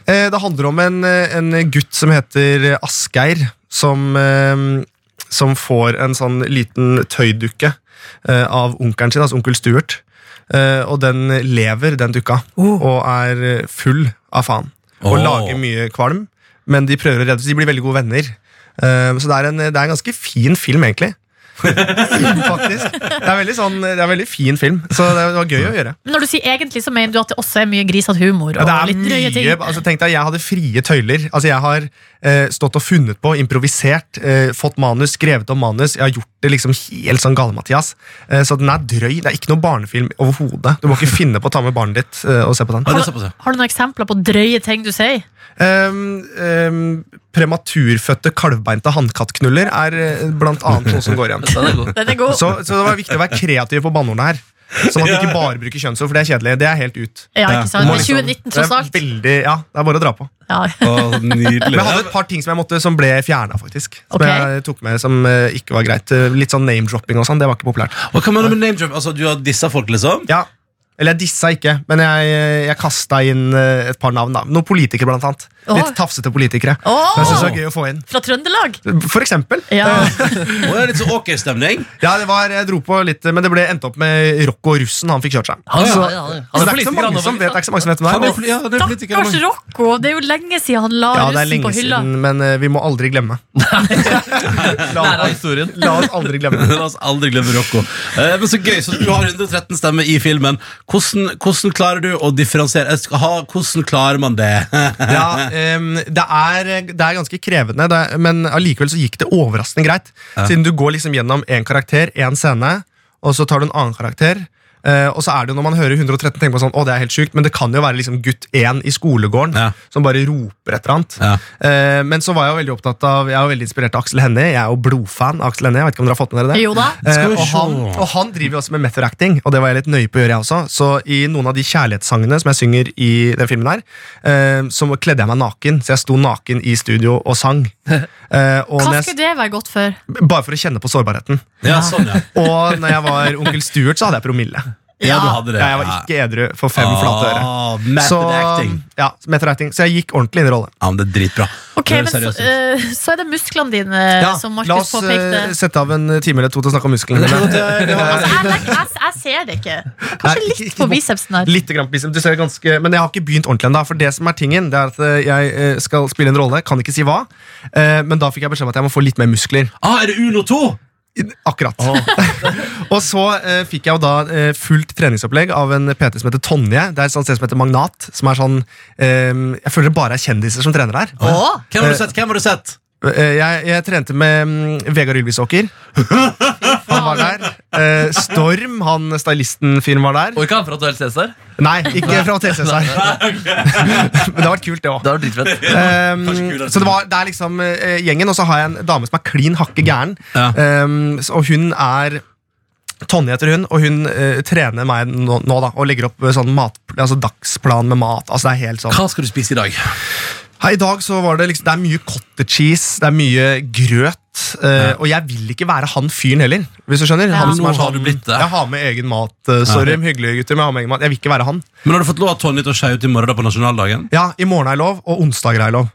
H: eh, Det handler om en, eh, en gutt som heter Asgeir, som, eh, som får en sånn liten tøydukke eh, av onkelen sin, altså onkel Stuart. Eh, og den lever, den dukka, og er eh, full av faen.
B: Åh.
H: Og lager mye kvalm, men de prøver å redde De blir veldig gode venner. Eh, så det er, en, det er en ganske fin film, egentlig. Faktisk. Det er veldig sånn, det er veldig fin film, så det var gøy å gjøre.
E: Men når du sier egentlig, så mener du at det også er mye grisete humor og
H: Ja, det er
E: litt drøye ting.
H: mye, altså tenk deg, Jeg hadde frie tøyler. Altså Jeg har eh, stått og funnet på, improvisert, eh, fått manus, skrevet om manus. Jeg har gjort det liksom helt sånn gale-Mathias. Eh, så den er drøy. Det er ikke noen barnefilm overhodet. Du må ikke finne på å ta med barnet ditt eh, og se på den.
B: Ja, det er såpass, ja.
E: Har du noen eksempler på drøye ting du sier?
H: Ehm, ehm, prematurfødte kalvbeinte hannkattknuller er eh, blant annet noe som går igjen.
C: Den er god.
E: Den er god.
H: Så, så det var viktig å være kreativ på banneordene her. Sånn at du ikke bare bruker kjønnsord, for det er kjedelig. Det er helt ut.
E: ja, ikke sant? Det er
H: Må liksom-
E: 2019, tross alt.
H: Det er veldig, ja, det er bare å dra på.
E: Ja.
B: Å, nydelig.
H: Men jeg hadde et par ting som jeg måtte Som ble fjerna, faktisk. Som
E: Ok.
H: jeg tok med som eh, ikke var greit. Eh, Litt sånn name-dropping og sånn. Det var ikke populært.
B: Og hva mener du med name drop? Altså, du har dissa folk, liksom?
H: Ja, Eller jeg dissa ikke, men jeg, jeg kasta inn eh, et par navn. da Noen politikere, blant annet.
E: Åh.
H: Litt tafsete politikere.
E: Åh!
H: Som jeg synes var gøy å få inn.
E: Fra Trøndelag?
H: For eksempel.
E: Ja.
B: Og det er litt sånn ok-stemning.
H: Ja, det var, jeg dro på litt, men det ble endte opp med Rocco og russen. Han fikk kjørt seg.
C: Ah, Han,
H: Så-
C: han, han,
H: Så
C: han er
H: det er ikke så
C: politiker, han
H: mange
C: også.
H: som vet, det er ikke så mange som vet hvem det er.
B: Han er- ja, det er politiker,
E: Stakkars
B: men-
E: Rocco! Det er jo lenge siden han la
H: Ja, det er
E: russen
H: lenge
E: på hylla.
H: siden, men eh, vi må aldri glemme. La,
C: Lærer av historien.
H: la oss aldri glemme.
B: La oss aldri glemme Rocco. Eh, men så gøy, så Du har 113 stemmer i filmen. Hvordan, hvordan klarer du å differensiere? Jeg skal ha- Hvordan klarer man det?
H: ja, ehm, det, er, det er ganske krevende, det, er- men allikevel så gikk det overraskende greit. Siden du går liksom gjennom én karakter, én scene, og så tar du en annen karakter. eh, og så er det jo når man hører 113 tenker man sånn, å det er helt sjukt, men det kan jo være liksom gutt 1 i skolegården
B: Ja.
H: som bare roper et eller annet.
B: Ja.
H: Eh, men så var jeg jo veldig opptatt av, jeg er jo veldig inspirert av Aksel Hennie. Jeg er jo blodfan av Aksel Hennie. Jeg vet ikke om dere har fått med dere det?
E: Jo da.
H: Eh,
B: Skal vi
H: og,
B: se.
H: han, og han driver jo også med method acting, og det var jeg litt nøye på å gjøre, jeg også. Så i noen av de kjærlighetssangene som jeg synger i den filmen her, eh, så kledde jeg meg naken. Så jeg sto naken i studio og sang. Eh, og
E: Hva
H: når
E: skulle
H: jeg,
E: det være godt for?
H: bare for å kjenne på sårbarheten.
B: Ja, sånn, ja.
H: Og når jeg var onkel Stuart, så hadde jeg promille.
B: Ja, du hadde det.
H: Jeg var ikke edru for fem flate øre.
B: Ah, method
H: Så,
B: acting.
H: ja, method acting. så jeg gikk ordentlig inn i rollen.
B: Ja, men det er dritbra.
E: Ok,
B: Det er
E: men så,
B: seriøst.
E: eh, så er det musklene dine
H: Ja,
E: som
H: la
E: Markus
H: oss eh,
E: påpekte.
H: sette av en time eller to til å snakke om musklene.
E: Altså, jeg, legger- jeg, jeg ser det ikke.
H: Nei,
E: Kanskje
H: ikke-
E: litt
H: ikke
E: på
H: på-
E: bicepsen her.
H: Litt grann, liksom. du ser ganske, men jeg har ikke begynt ordentlig ennå. For det som er tingen, det er at eh, jeg eh, skal spille en rolle, kan ikke si hva. eh, Men da fikk jeg beskjed om at jeg må få litt mer muskler.
B: Ah, er det Uno 2?
H: Akkurat. og så eh, fikk jeg jo da eh, fullt treningsopplegg av en PT som heter Tonje. Det er et sånt sted som heter Magnat. Som er sånn eh, Jeg føler det bare er kjendiser som trener her.
E: Åh,
B: Hvem har du sett? Hvem har du sett?
H: Eh, Jeg, jeg trente med mm, Vegard Ylvisåker. Han var der. Eh, Storm, han stylisten-fyren, var der.
C: Og ikke han fra Hotel Cæsar.
H: Nei, ikke fra TCS her. Men det har vært kult, det òg.
C: Det var dritfett.
H: Ehm,
B: Kanskje kulere.
H: så det, var, det er liksom eh, gjengen, og så har jeg en dame som er klin hakke gæren.
B: Ja.
H: Ehm, så- og hun er Tonje heter hun, og hun eh, trener meg nå, nå da, og legger opp eh, sånn mat, altså dagsplan med mat. Altså det er helt sånn
B: Hva skal du spise i dag?
H: Her I dag så var det liksom, det er mye cottage cheese, det er mye grøt. eh, Og jeg vil ikke være han fyren heller. hvis du skjønner
E: Ja.
H: han som
B: Nå
H: er
B: har
H: sånn,
B: du blitt det.
H: Jeg har med egen mat. eh, Sorry, hyggelig gutter, men jeg har med egen mat. Jeg vil ikke være han.
B: Men Har du fått lov av Tonje til å skeie ut i morgen da på nasjonaldagen?
H: Ja, I morgen er lov, og onsdager er lov.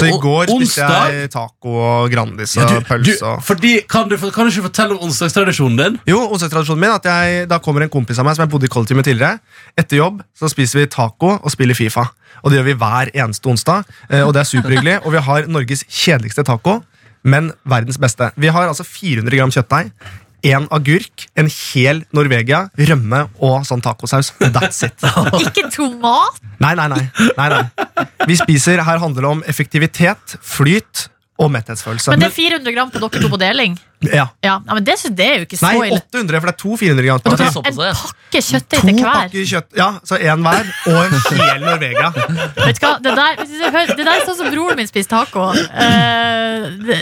H: Så i
B: På
H: går spiste
B: onsdag?
H: jeg taco og Grandis og
B: du,
H: pølse. og...
B: fordi, kan, du, kan du ikke fortelle om onsdagstradisjonen din?
H: Jo, onsdagstradisjonen min er at jeg, Da kommer en kompis av meg som jeg bodde i kollektiv med tidligere. Etter jobb så spiser vi taco og spiller Fifa. Og Det gjør vi hver eneste onsdag. eh, Og det er superhyggelig Og vi har Norges kjedeligste taco, men verdens beste. Vi har altså 400 gram kjøttdeig, én agurk, en hel Norvegia, rømme og sånn tacosaus. That's it.
E: ikke tomat?
H: Nei, nei, nei. nei, nei. Vi spiser, Her handler det om effektivitet, flyt og metthetsfølelse.
E: Men det er 400 gram på dere to på deling.
H: ja.
E: Ja, ja men det, synes- det er jo ikke så
H: Nei,
E: ille.
H: 800, for det er to 400
E: Og
H: gram.
E: du
C: det
E: tar
C: er såpass,
E: en
C: ja.
E: pakke kjøttdeig
H: To
E: til hver.
H: pakker kjøtt, ja, så en hver, og en hel Norvegia.
E: Vet du hva? Det der, det hø- det der er sånn som broren min spiser taco. Eh, det,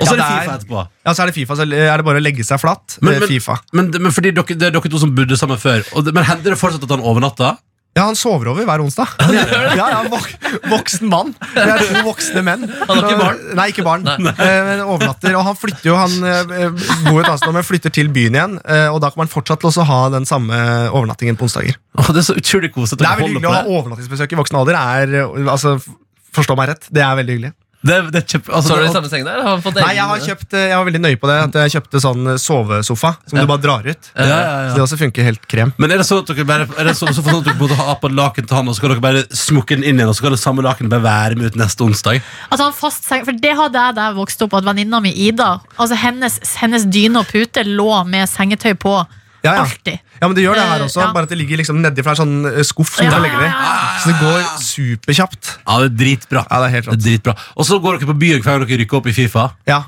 B: Og så er det
H: Ja, det er-
B: Fifa etterpå.
H: Ja, så er det Fifa, så er det bare å legge seg flatt.
B: Men-
H: eh,
B: men-
H: FIFA.
B: Men, men fordi dere, det er dere to som bodde sammen før. Og det, men Hender det fortsatt at han overnatter?
H: Ja, han sover over hver onsdag. Ja, ja, vok Voksen mann. Vi er to voksne menn.
C: har ikke barn?
H: Nei, ikke barn. Eh, Men overnatter. Og han flytter jo, han eh, bor jo et annet sted, men flytter til byen igjen. eh, Og da kan man fortsatt også ha den samme overnattingen på onsdager.
B: Åh, det er så utrolig koselig. at
H: Det
B: dere
H: er veldig
B: holder
H: hyggelig å
B: på
H: ha overnattingsbesøk i voksen alder. Er, eh, altså, f- forstå meg rett, det er veldig hyggelig.
B: Det, det er kjempe... Altså,
C: Så er det i
B: det,
C: samme seng der? Har han fått
H: Nei,
C: egen-
H: jeg har kjøpt, eh, jeg var veldig nøye på det. At jeg kjøpte sånn eh, sovesofa som
C: Ja.
H: du bare drar ut.
B: ja, ja,
H: Så
B: ja.
H: det også funker helt krem.
B: Men er det sånn at dere bare Er det sånn så sånn at dere på en måte har på laken til han, og så kan dere bare smukke den inn igjen, og så kan det samme lakenet bare være med ut neste onsdag?
E: At altså, han fast seng, for det hadde jeg da jeg vokste opp, at venninna mi Ida Altså hennes, hennes dyne og pute lå med sengetøy på.
H: Ja, ja.
E: Alltid.
H: ja, men det gjør det her
E: Eh,
H: også.
E: ja.
H: Bare at det ligger liksom nedi, for det er sånn eh, skuff som
E: Ja,
H: du kan legge det
E: ja,
H: i. Så det går superkjapt.
B: Ja, det er dritbra.
H: Ja, det er helt
B: Det er
H: rått.
B: dritbra. Og så går dere på byen hver gang dere rykker opp i Fifa.
H: Ja.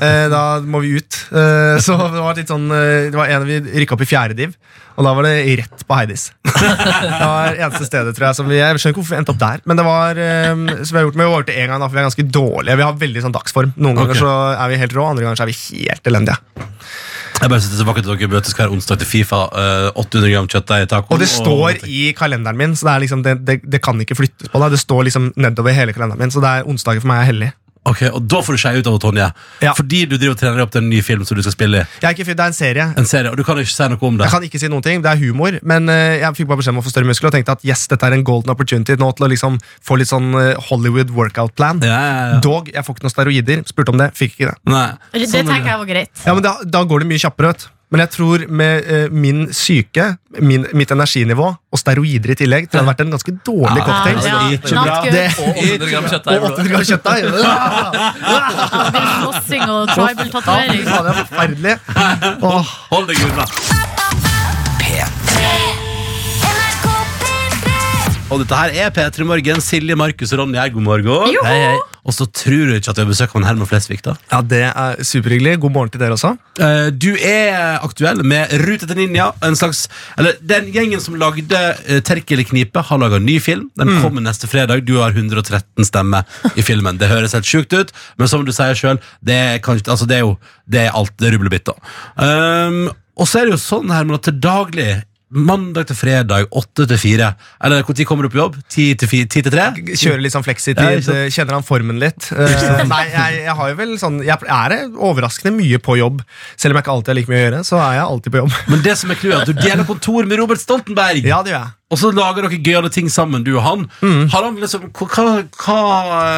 H: Eh, da må vi ut. Eh, så det var litt sånn eh, Det var en vi rykka opp i fjerde div, og da var det rett på Heidis. Det var det eneste stedet, tror jeg. Som vi, jeg skjønner ikke hvorfor vi endte opp der. Men det var eh, som vi har gjort med over til en gang, da, for vi er ganske dårlige. Vi har veldig sånn dagsform. Noen ganger
B: Ok.
H: så er vi helt rå, andre ganger så er vi helt elendige.
B: Jeg bare synes det er så vakkert at dere møtes hver onsdag til Fifa. eh, 800 gram kjøttdeig i tacoen.
H: Og det står i kalenderen min, så det, er liksom, det, det, det kan ikke flyttes på. Da. Det står liksom nedover hele kalenderen min, så det er onsdager for meg er hellig.
B: Ok, Og da får du skeie ut av Tonje.
H: Ja.
B: Fordi du driver og trener deg opp til en ny film som du skal spille i.
H: Jeg er ikke, fyr- det er en serie.
B: En serie, Og du kan ikke si noe om det.
H: Jeg kan ikke si noen ting, det er humor, men eh, jeg fikk bare beskjed om å få større muskler og tenkte at yes, dette er en golden opportunity nå til å liksom få litt sånn eh, Hollywood workout plan.
B: Ja, ja, ja.
H: Dog, jeg får ikke noen steroider. Spurte om det, fikk ikke det.
B: Nei.
E: Det
B: Sånn er
E: tenker jeg var greit.
H: Ja, men da, da går det mye kjappere, vet du. Men jeg tror med eh, min syke, min, mitt energinivå og steroider i tillegg, tror jeg det hadde vært en ganske dårlig cocktail.
E: Ja, ja.
B: Ikke
E: Not
B: bra.
E: good.
H: Det-
C: Og 800 gram kjøttdeig i
H: Og
C: blodet.
H: 800 gram kjøttdeig!
E: Ja, det blir Slåssing og
H: Fy
E: tribal-tatovering.
H: faen, det er forferdelig. Åh.
B: Hold deg unna. Og dette her er P3 Morgen. Silje, Markus og Ronny her, god morgen.
E: Joho! Hei, hei.
B: Og så tror du ikke at vi har besøk av en Herman Flesvig, da?
H: Ja, det er superhyggelig. God morgen til dere også.
B: Eh, du er aktuell med Rute til ninja. En slags, eller, den gjengen som lagde uh, Terkelknipe, har laga ny film. Den kommer neste fredag. Du har 113 stemmer i filmen. Det høres helt sjukt ut, men som du sier sjøl, det, er kanskje- altså, det er jo det er alt. Det er rublebitt, da. Um, og så er det jo sånn, Herman, at til daglig Mandag til fredag, åtte til fire. Eller når kommer du på jobb? Ti til fi- ti til tre?
H: Kjører litt sånn
B: Ja,
H: fleksitid,
B: ikke sant.
H: eh, kjenner han formen litt. Eh, Nei, jeg, jeg har jo vel sånn Jeg er overraskende mye på jobb. Selv om jeg ikke alltid har like mye å gjøre, så er jeg alltid på jobb.
B: Men det som er clouet, er at du deler kontor med Robert Stoltenberg!
H: Ja, det gjør jeg.
B: Og så lager dere gøyale ting sammen, du og han.
H: Mm.
B: Har han liksom, hva, hva,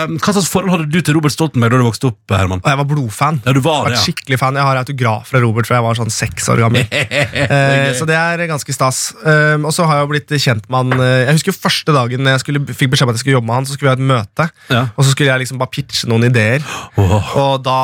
B: um, hva slags forhold hadde du til Robert Stoltenberg da du vokste opp? Herman?
H: Og jeg var blodfan.
B: Ja, du var
H: Jeg
B: det,
H: var
B: ja.
H: skikkelig fan. Jeg har autograf fra Robert fra jeg var sånn seks år gammel. Eh, Så det er ganske stas. Um, og så har jeg jo blitt kjent med han eh, Jeg husker første dagen jeg skulle, fikk beskjed om at jeg skulle jobbe med han, så skulle vi ha et møte.
B: Ja.
H: Og så skulle jeg liksom bare pitche noen ideer.
B: Åh.
H: Og da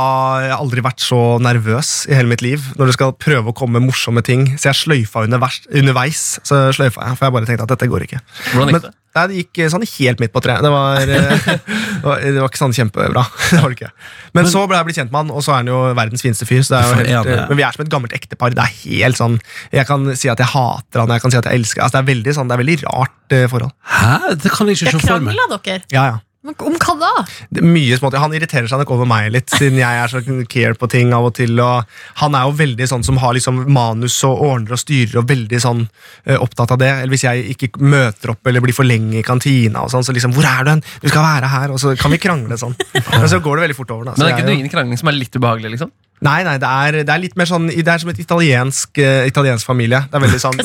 H: Jeg har aldri vært så nervøs i hele mitt liv når du skal prøve å komme med morsomme ting. Så jeg sløyfa underveis, underveis så sløyfa jeg, for jeg bare tenkte at dette går ikke.
C: Hvordan gikk
H: Men-
C: det?
H: Nei, det gikk eh, sånn helt midt på treet. Det var, eh, det var, det var ikke sånn kjempebra. Det var det ikke. Men, så ble jeg blitt kjent med han, og så er han jo verdens fineste fyr. Så det er jo
B: For
H: helt,
B: en, ja.
H: eh, men vi er som et gammelt ektepar. Det er helt sånn, Jeg kan si at jeg hater han, jeg kan si at jeg elsker han. altså, Det er veldig sånn, det er veldig rart eh, forhold.
B: Hæ? Det kan jeg ikke
E: Det
B: se for meg.
E: krangla dere.
H: Ja, ja.
E: Men om hva da?
H: Det er mye småting. Han irriterer seg nok over meg litt, siden jeg er så care på ting av og til. Og han er jo veldig sånn som har liksom manus og ordner og styrer og veldig sånn eh, opptatt av det. Eller hvis jeg ikke møter opp eller blir for lenge i kantina, og sånn, så liksom 'Hvor er du hen? Du skal være her.' Og så kan vi krangle sånn. Men så går det veldig fort over. Da. Så
C: Men er
H: jeg
C: ikke
H: er
C: det
H: jo-
C: ingen krangling som er litt ubehagelig, liksom?
H: Nei, nei, det er, det er litt mer sånn Det er som et italiensk, eh, italiensk familie. Det er veldig sånn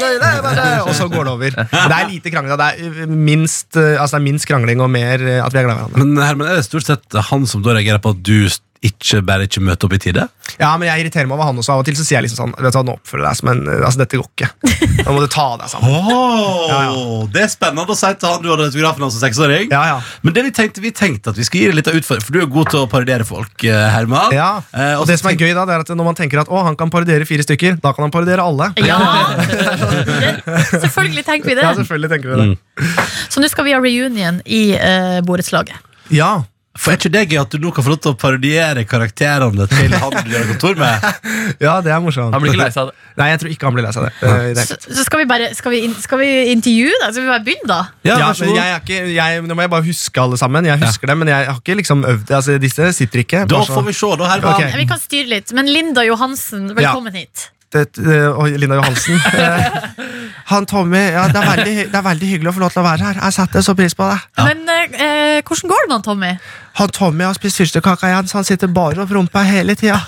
H: Og så går det over. Det er lite krangling. Det er eh, minst, eh, altså det er minst krangling og mer eh, at vi er glad i hverandre.
B: Men Herman, er det stort sett han som da reagerer på at du s- ikke bare ikke møter opp i tide?
H: Ja, men jeg irriterer meg over han også. Av og til så sier jeg liksom sånn Vet du hva, nå oppfører du deg som en Altså, dette går ikke. Nå må du ta deg sammen.
B: Åh, Det er spennende å si til han du hadde autografen hans som seksåring.
H: Ja, ja.
B: Men det vi tenkte, vi tenkte at vi skulle gi deg litt av utfordring, for du er god til å parodiere folk, eh, Herman.
H: Ja.
B: Eh,
H: Og det som er gøy, da, det er at når man tenker at å, han kan parodiere fire stykker, da kan han parodiere alle.
E: Ja! Det, selvfølgelig tenker vi
H: Ja,
E: det.
H: selvfølgelig tenker du det.
B: Mm.
E: Så nå skal vi ha reunion i uh, borettslaget.
H: Ja.
B: For er ikke det gøy at du nå kan få lov til å parodiere karakterene til han du gjør kontor med?
H: ja, det er morsomt.
C: Han blir ikke lei seg av det.
H: Nei, jeg tror ikke han blir lei seg av det. Eh, det. er-
E: Så, så skal vi bare Skal vi, in- skal vi intervjue deg? Skal vi bare begynne, da?
B: Ja,
H: Ja,
B: vær så
H: men
B: god.
H: jeg er ikke, jeg, nå må jeg bare huske alle sammen. Jeg husker dem, men jeg har ikke liksom øvd. Altså, disse sitter ikke.
B: Da
H: Bare så-
B: får vi se, da, Herman.
H: Ok.
E: Vi kan styre litt. Men Linda Johansen, velkommen hit.
H: det, eh, og Linda Johansen. Eh, Han Tommy, ja, det, er veldig, hy- det er veldig hyggelig å få lov til å være her. Jeg setter så pris på det.
E: Men eh, eh, hvordan går det med han, Tommy?
H: Han Tommy har spist fyrstekaka igjen, så han sitter bare og promper hele tida.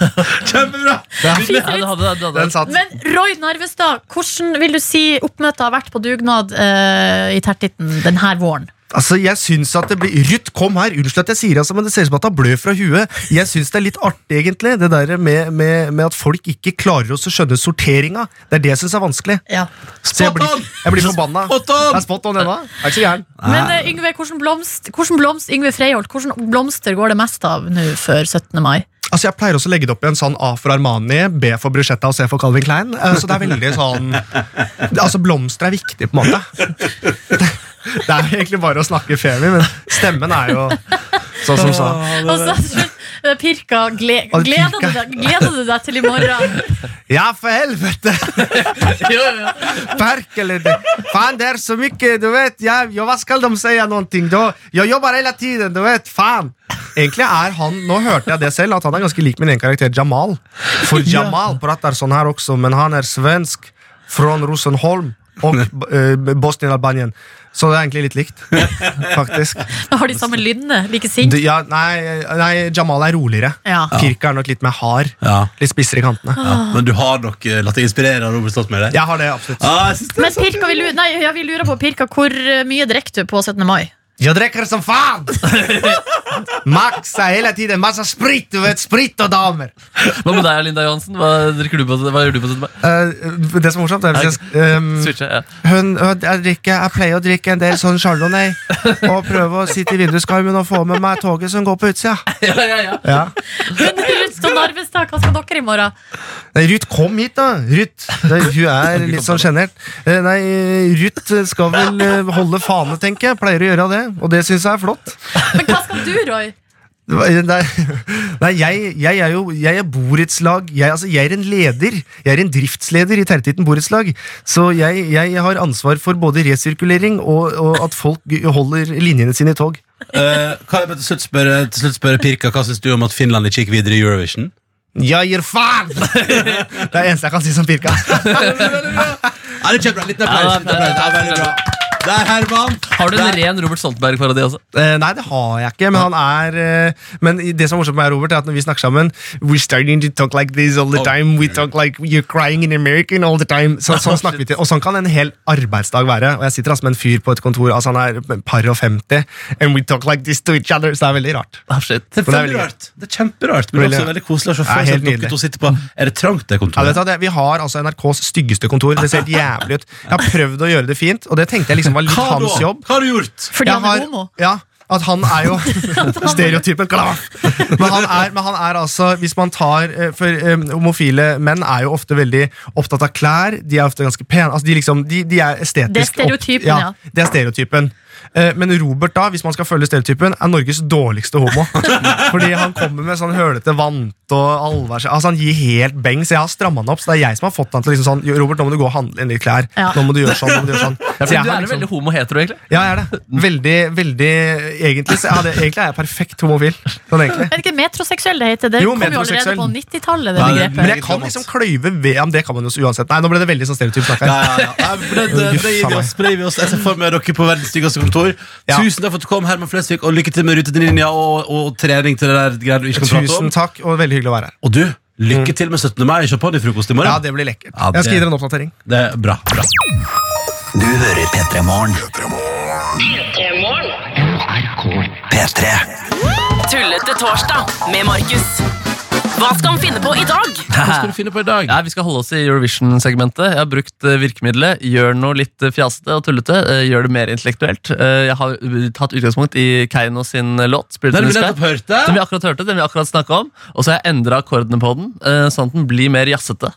B: Kjempebra!
C: Ja, du hadde, du hadde.
E: Men Roy Narvestad, hvordan vil du si oppmøtet har vært på dugnad eh, i Tertitten denne våren?
H: Altså, jeg synes at det blir Ruth, kom her! Unnskyld at jeg sier det, altså, men det ser ut som at han blør fra huet. Jeg syns det er litt artig, egentlig, det der med, med, med at folk ikke klarer å skjønne sorteringa. Det er det jeg syns er vanskelig.
E: Ja.
H: Så jeg blir, jeg blir forbanna.
B: Spot on!
H: Det er spot on ennå. Jeg Er ikke så gæren.
E: Men eh, Yngve, hvordan blomst, hvordan blomst, Yngve Freiholt, hvordan blomster går det mest av nå før 17. mai?
H: Altså, jeg pleier også å legge det opp i en sånn A for Armani, B for Bruschetta og C for Calvin Klein. Eh, Så det er veldig sånn det- Altså, blomster er viktig, på en måte. Det, det er egentlig bare å snakke femi, men stemmen er jo sånn som sa.
E: Og så eh, pirka gle,
H: Og det
E: gleder, du
H: pirka.
E: deg, gleder du deg til i morgen?
H: Ja, for helvete! Perkele, det. Fan, det er så mye, du vet. Jeg, ja, hva skal de si? noen ting? Da, jeg jobber hele tiden, du vet. Faen! Egentlig er han, Nå hørte jeg det selv, at han er ganske lik min egen karakter Jamal. For Jamal prater sånn her også, men han er svensk fra Rosenholm og eh, Bosnia-Albanien. Så det er egentlig litt likt, faktisk.
E: Har de samme lydene? Like
H: Du,
E: sint?
H: ja, nei, nei, Jamal er roligere.
E: Ja.
H: Pirka er nok litt mer hard.
B: Ja,
H: Litt spissere i kantene.
B: ja. Men du har nok eh, latt deg inspirere av Robert Stoltenberg?
H: Jeg har det, absolutt.
B: Ja, Ah, jeg synes det
E: Men pirka, vi, lurer, nei, ja, vi lurer på Pirka, hvor eh, mye drikker du på 17. mai?
H: Jeg drikker som faen! Max er hele tiden masse sprit, du vet, sprit og damer.
C: Hva med deg, Linda Johansen? Hva, drikker du på, hva gjør du på 17. mai?
H: Eh, det som er morsomt, er hvis jeg, ehm,
C: Switcher, ja.
H: hun, hun- jeg, drikker, jeg pleier å drikke en del sånn chardonnay og prøve å sitte i vinduskarmen og få med meg toget som går på utsida.
C: Ja, ja, ja.
H: Ja.
E: Ruth og Narvestad, hva skal dere i morgen?
H: Nei, Ruth, kom hit, da! Ruth. Det, hun er litt sånn sjenert. Eh, Nei, Ruth skal vel eh, holde fane, tenker jeg. Pleier å gjøre det, og det syns jeg er flott.
E: Men hva skal du, Roy?
H: Nei, nei jeg, jeg er jo Jeg er borettslag. Jeg, altså, jeg er en leder. Jeg er en driftsleder i Tertitten borettslag. Så jeg, jeg har ansvar for både resirkulering og, og at folk holder linjene sine i tog.
B: Eh, kan jeg bare til slutt spørre, til slutt spørre Pirka, hva syns du om at Finland ikke gikk videre i Eurovision?
H: Jeg gir faen! Det er det eneste jeg kan si som pirka.
B: Ja, det er kjempebra. Liten applaus.
C: Ja,
B: liten applaus. Ja, veldig bra. Der, Herman.
C: Har du en ren Robert Stoltenberg-parodi også?
H: Eh, nei, det har jeg ikke, men han er eh, Men i- det som er morsomt med meg, Robert, er at når vi snakker sammen We're starting to talk like this all the time. We talk like you're crying in American all the time. Så, sånn snakker vi til. Og sånn kan en hel arbeidsdag være. Og jeg sitter altså med en fyr på et kontor, altså han er par og 50, and we talk like this to each other. Så det er veldig rart.
C: Ah, shit.
B: Det er
H: Men det
B: veldig
H: er veldig
B: rart. Det er kjemperart, men det er
H: Veldig
B: også veldig koselig å se
H: Ja,
B: for seg
H: helt
B: at dere
H: nydelig.
B: to sitter på Er det trangt, det
H: Ja, vet
B: kontoret?
H: du hva, det, vi har altså NRKs styggeste kontor. Det ser helt jævlig ut. Jeg har prøvd å gjøre det fint, og det tenkte jeg liksom var litt
B: Hva
H: hans
B: da?
H: jobb.
B: Hva har du gjort?
E: Fordi
H: Jeg
E: han er
H: har-
E: homo?
H: Ja, at han er jo stereotypen. klar. Men han, er, men han er altså Hvis man tar eh, For eh, homofile menn er jo ofte veldig opptatt av klær. De er ofte ganske pene. Altså, de, liksom, de, de er estetisk
E: Det er stereotypen,
H: opp-
E: ja.
H: Det er stereotypen. Eh, Men Robert, da, hvis man skal følge stereotypen, er Norges dårligste homo. Fordi han kommer med sånn hølete vant og alvers Altså Han gir helt beng, så jeg har stramma han opp. Så det er jeg som har fått han til liksom sånn "Jo, Robert, nå må du gå og handle inn i klær.
E: Ja.
H: Nå må du gjøre sånn, nå må du gjøre sånn.
C: Ja,
H: Så
C: for
H: jeg
C: du
H: har
C: er jo veldig homo-hetero, egentlig.
H: ja, jeg er det. Veldig, veldig Egentlig, så er det, egentlig er jeg perfekt homofil. Sånn egentlig.
E: Er det ikke metroseksuell det heter? Det
H: Jo,
E: kom jo allerede
H: metroseksuell.
E: på 90-tallet, det
B: Ja, det-
E: begrepet.
H: Men jeg kan liksom kløyve ved ja, men Det kan man jo så uansett. Nei, nå ble det veldig sånn stereotyp snakk
B: Ja,
H: her.
B: ja, ja. Nei, men Det, det, det gir vi oss. Det gir vi oss. Jeg ser for meg dere på verdens styggeste kontor.
H: Ja.
B: Tusen takk for at du kom, Herman Flesvig, og lykke til med rutelinja og, og trening til det der greia du ikke kan prate om.
H: Tusen takk, og veldig hyggelig å være her.
B: Og du, lykke til med 17. mai. Kjør på deg frokost i
H: Ja,
B: morgen.
H: det blir lekkert.
B: Ja,
H: Jeg
B: det-
H: skal gi dere en oppdatering.
B: Det er bra. bra.
I: Du hører P3 Morgen. P3.
J: Tullete torsdag med Markus. Hva skal han finne på i dag?
B: Hva skal du finne på i dag?
C: Ja, Vi skal holde oss i Eurovision-segmentet. Jeg har brukt eh, virkemidlet. Gjør noe litt eh, fjasete og tullete. eh, Gjør det mer intellektuelt. Eh, Jeg har uh, tatt utgangspunkt i Keiino sin eh, låt. Spirit
B: Den
C: in
B: vi
C: the Sky.
B: nettopp hørte.
C: Den vi akkurat hørte, den vi akkurat snakket om. Og så har jeg endra akkordene på den, eh, sånn at den blir mer jazzete.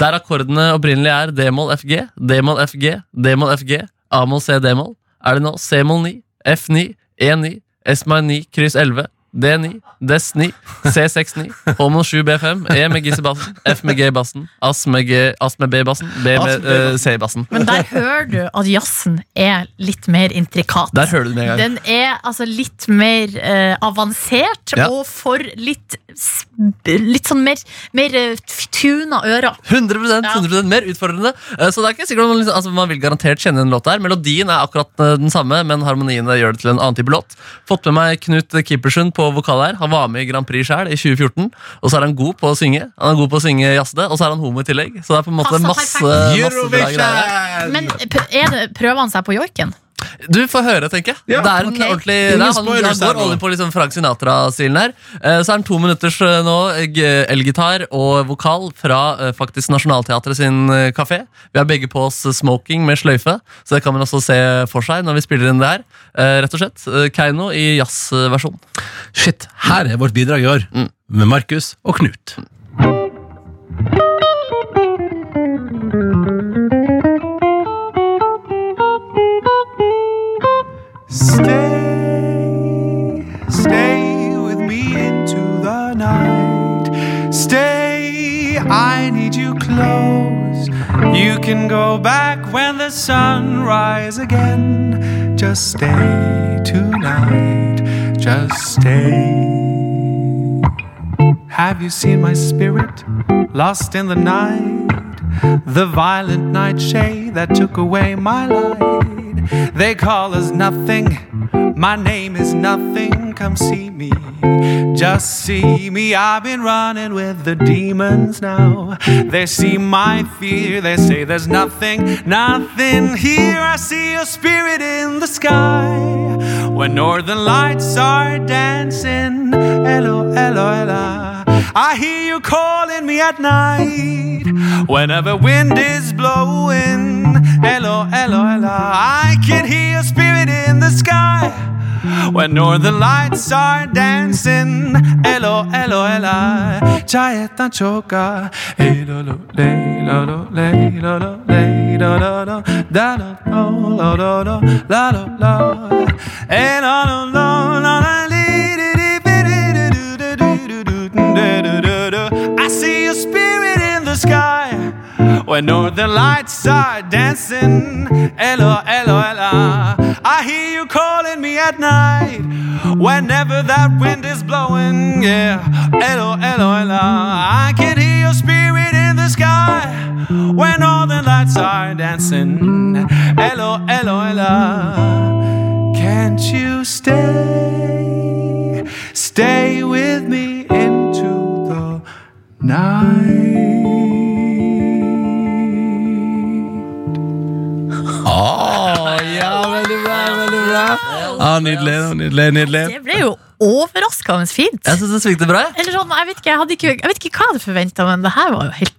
C: Der akkordene opprinnelig er D-moll FG, D-moll FG, D-moll FG, A-moll C, D-moll, er det nå C-moll 9, F9, E9, S-moll 9, kryss 11. D9, Des9, C69, H-moll 7 B5, E med G i bassen, F med G i bassen, Ass med, G, Ass med B i bassen, B med eh, C i bassen.
E: Men der hører du at jazzen er litt mer intrikat.
C: Der hører du det med en gang.
E: Den er altså litt mer eh, avansert
C: Ja.
E: og for litt s- Litt sånn mer, mer eh, f- tuna ører.
C: 100,
E: Ja.
C: 100 mer utfordrende. Eh, Så det er ikke sikkert man, liksom, altså man vil garantert kjenne en låt der. Melodien er akkurat eh, den samme, men harmoniene gjør det til en annen type låt. Fått med meg Knut Kippersund på vokal her. Han var med i Grand Prix sjøl i 2014. Og så er han god på å synge. Han er god på å synge jazzete, og så er han homo i tillegg. Så det er på en måte
E: Passer
C: eh, masse,
E: perfekt.
C: masse bra greier.
B: Eurovision!
E: Men p- er det, prøver han seg på joiken?
C: Du får høre, tenker jeg.
B: Ja,
C: det er en
B: ok.
C: ordentlig
B: Ingen
C: det er, han,
B: spoilers her
C: han går
B: nå.
C: all in på liksom Frank Sinatra-stilen her. Eh, Så er den to minutters eh, nå g- elgitar og vokal fra eh, faktisk Nationaltheatret sin eh, kafé. Vi har begge på oss smoking med sløyfe, så det kan man også se for seg når vi spiller inn det her. Eh, Rett og slett. eh, Keiino i jazzversjon.
B: Shit, her er vårt bidrag i år Med Markus og Knut
H: Stay, stay with me into the night. Stay, I need you close. You can go back when the sun rise again. Just stay tonight. Just stay. Have you seen my spirit lost in the night? The violent nightshade that took away my light. They call us nothing. My name is nothing. Come see me. Just see me. I've been running with the demons now. They see my fear. They say there's nothing, nothing here. I see a spirit in the sky. When northern lights are dancing, hello, hello, hello. I hear you calling me at night. Whenever wind is blowing, hello, hello, hello. I can hear a spirit in the sky. When northern lights are dancing, hello, hello, hello. Chaeta choka, hello, lo, le, lo, lo, le, lo, lo, le, lo, lo, lo, da, lo, lo, lo, lo, lo, la, lo, lo, eh, lo, lo, lo, lo, la, li, di, di, bi, di, di, do, do, do, do, do, do, do, do, do. I see a spirit in the sky. When northern lights are dancing, hello, hello, hello. I hear you calling me at night. Whenever that wind is blowing, yeah, hello, hello, hello. I can hear your spirit in the sky. When northern lights are dancing, hello, hello, hello. Can't you stay, stay with me into the
B: Ah, ja, veldig bra, veldig bra ah, Nydelig, nydelig, nydelig
E: Det ble jo overraskende fint.
C: Jeg syns det svingte bra. jeg.
E: Eller sånn, jeg vet ikke, jeg, hadde ikke, jeg vet ikke hva jeg hadde forventa, men det her var jo helt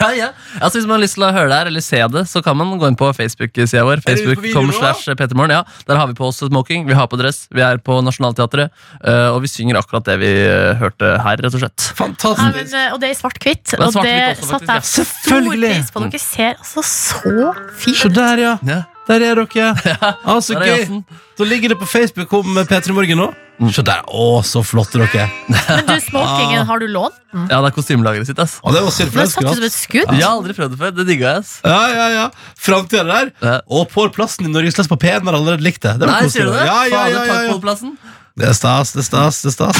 C: Ja, ja. Altså, hvis man har lyst til å høre det her eller se det, så kan man gå inn på Facebook-sida vår.
B: Er det ute på
C: Facebook.com
B: video nå?
C: slash Petermorgen, ja. Der har vi på oss smoking, vi har på dress, vi er på Nationaltheatret, eh, og vi synger akkurat det vi eh, hørte her, rett og slett.
E: Nei, men, eh, Og det er i svart-hvitt.
C: Det er
E: Og det
C: svart-hvitt også,
E: satte
C: faktisk,
E: jeg
C: ja.
E: stor
C: Selvfølgelig.
E: pris på. Dere ser altså så fint
B: Så der, ja. Der er dere. Ah, så
E: der er
B: gøy.
E: jazzen.
B: Da ligger det på Facebook om P3 Morgen nå. Se der. Å, så flotte dere
E: Men du, smokingen, har du lånt?
C: Ja, det er kostymelageret sitt, ass.
B: Og det var synd, for
E: Den
B: jeg skulle
E: satt du som et skudd.
C: Ja, Jeg har aldri prøvd det før. Det digga jeg, ass.
B: Ja, ja, ja. Framtida der. Og Pål Plassen i Norgesklasse på P1 har allerede likt det. det var
C: Nei,
B: koselig,
C: sier du det?
B: Ja, ja, ja, ja, ja.
C: Plassen.
B: Det er stas, det er stas, det er stas.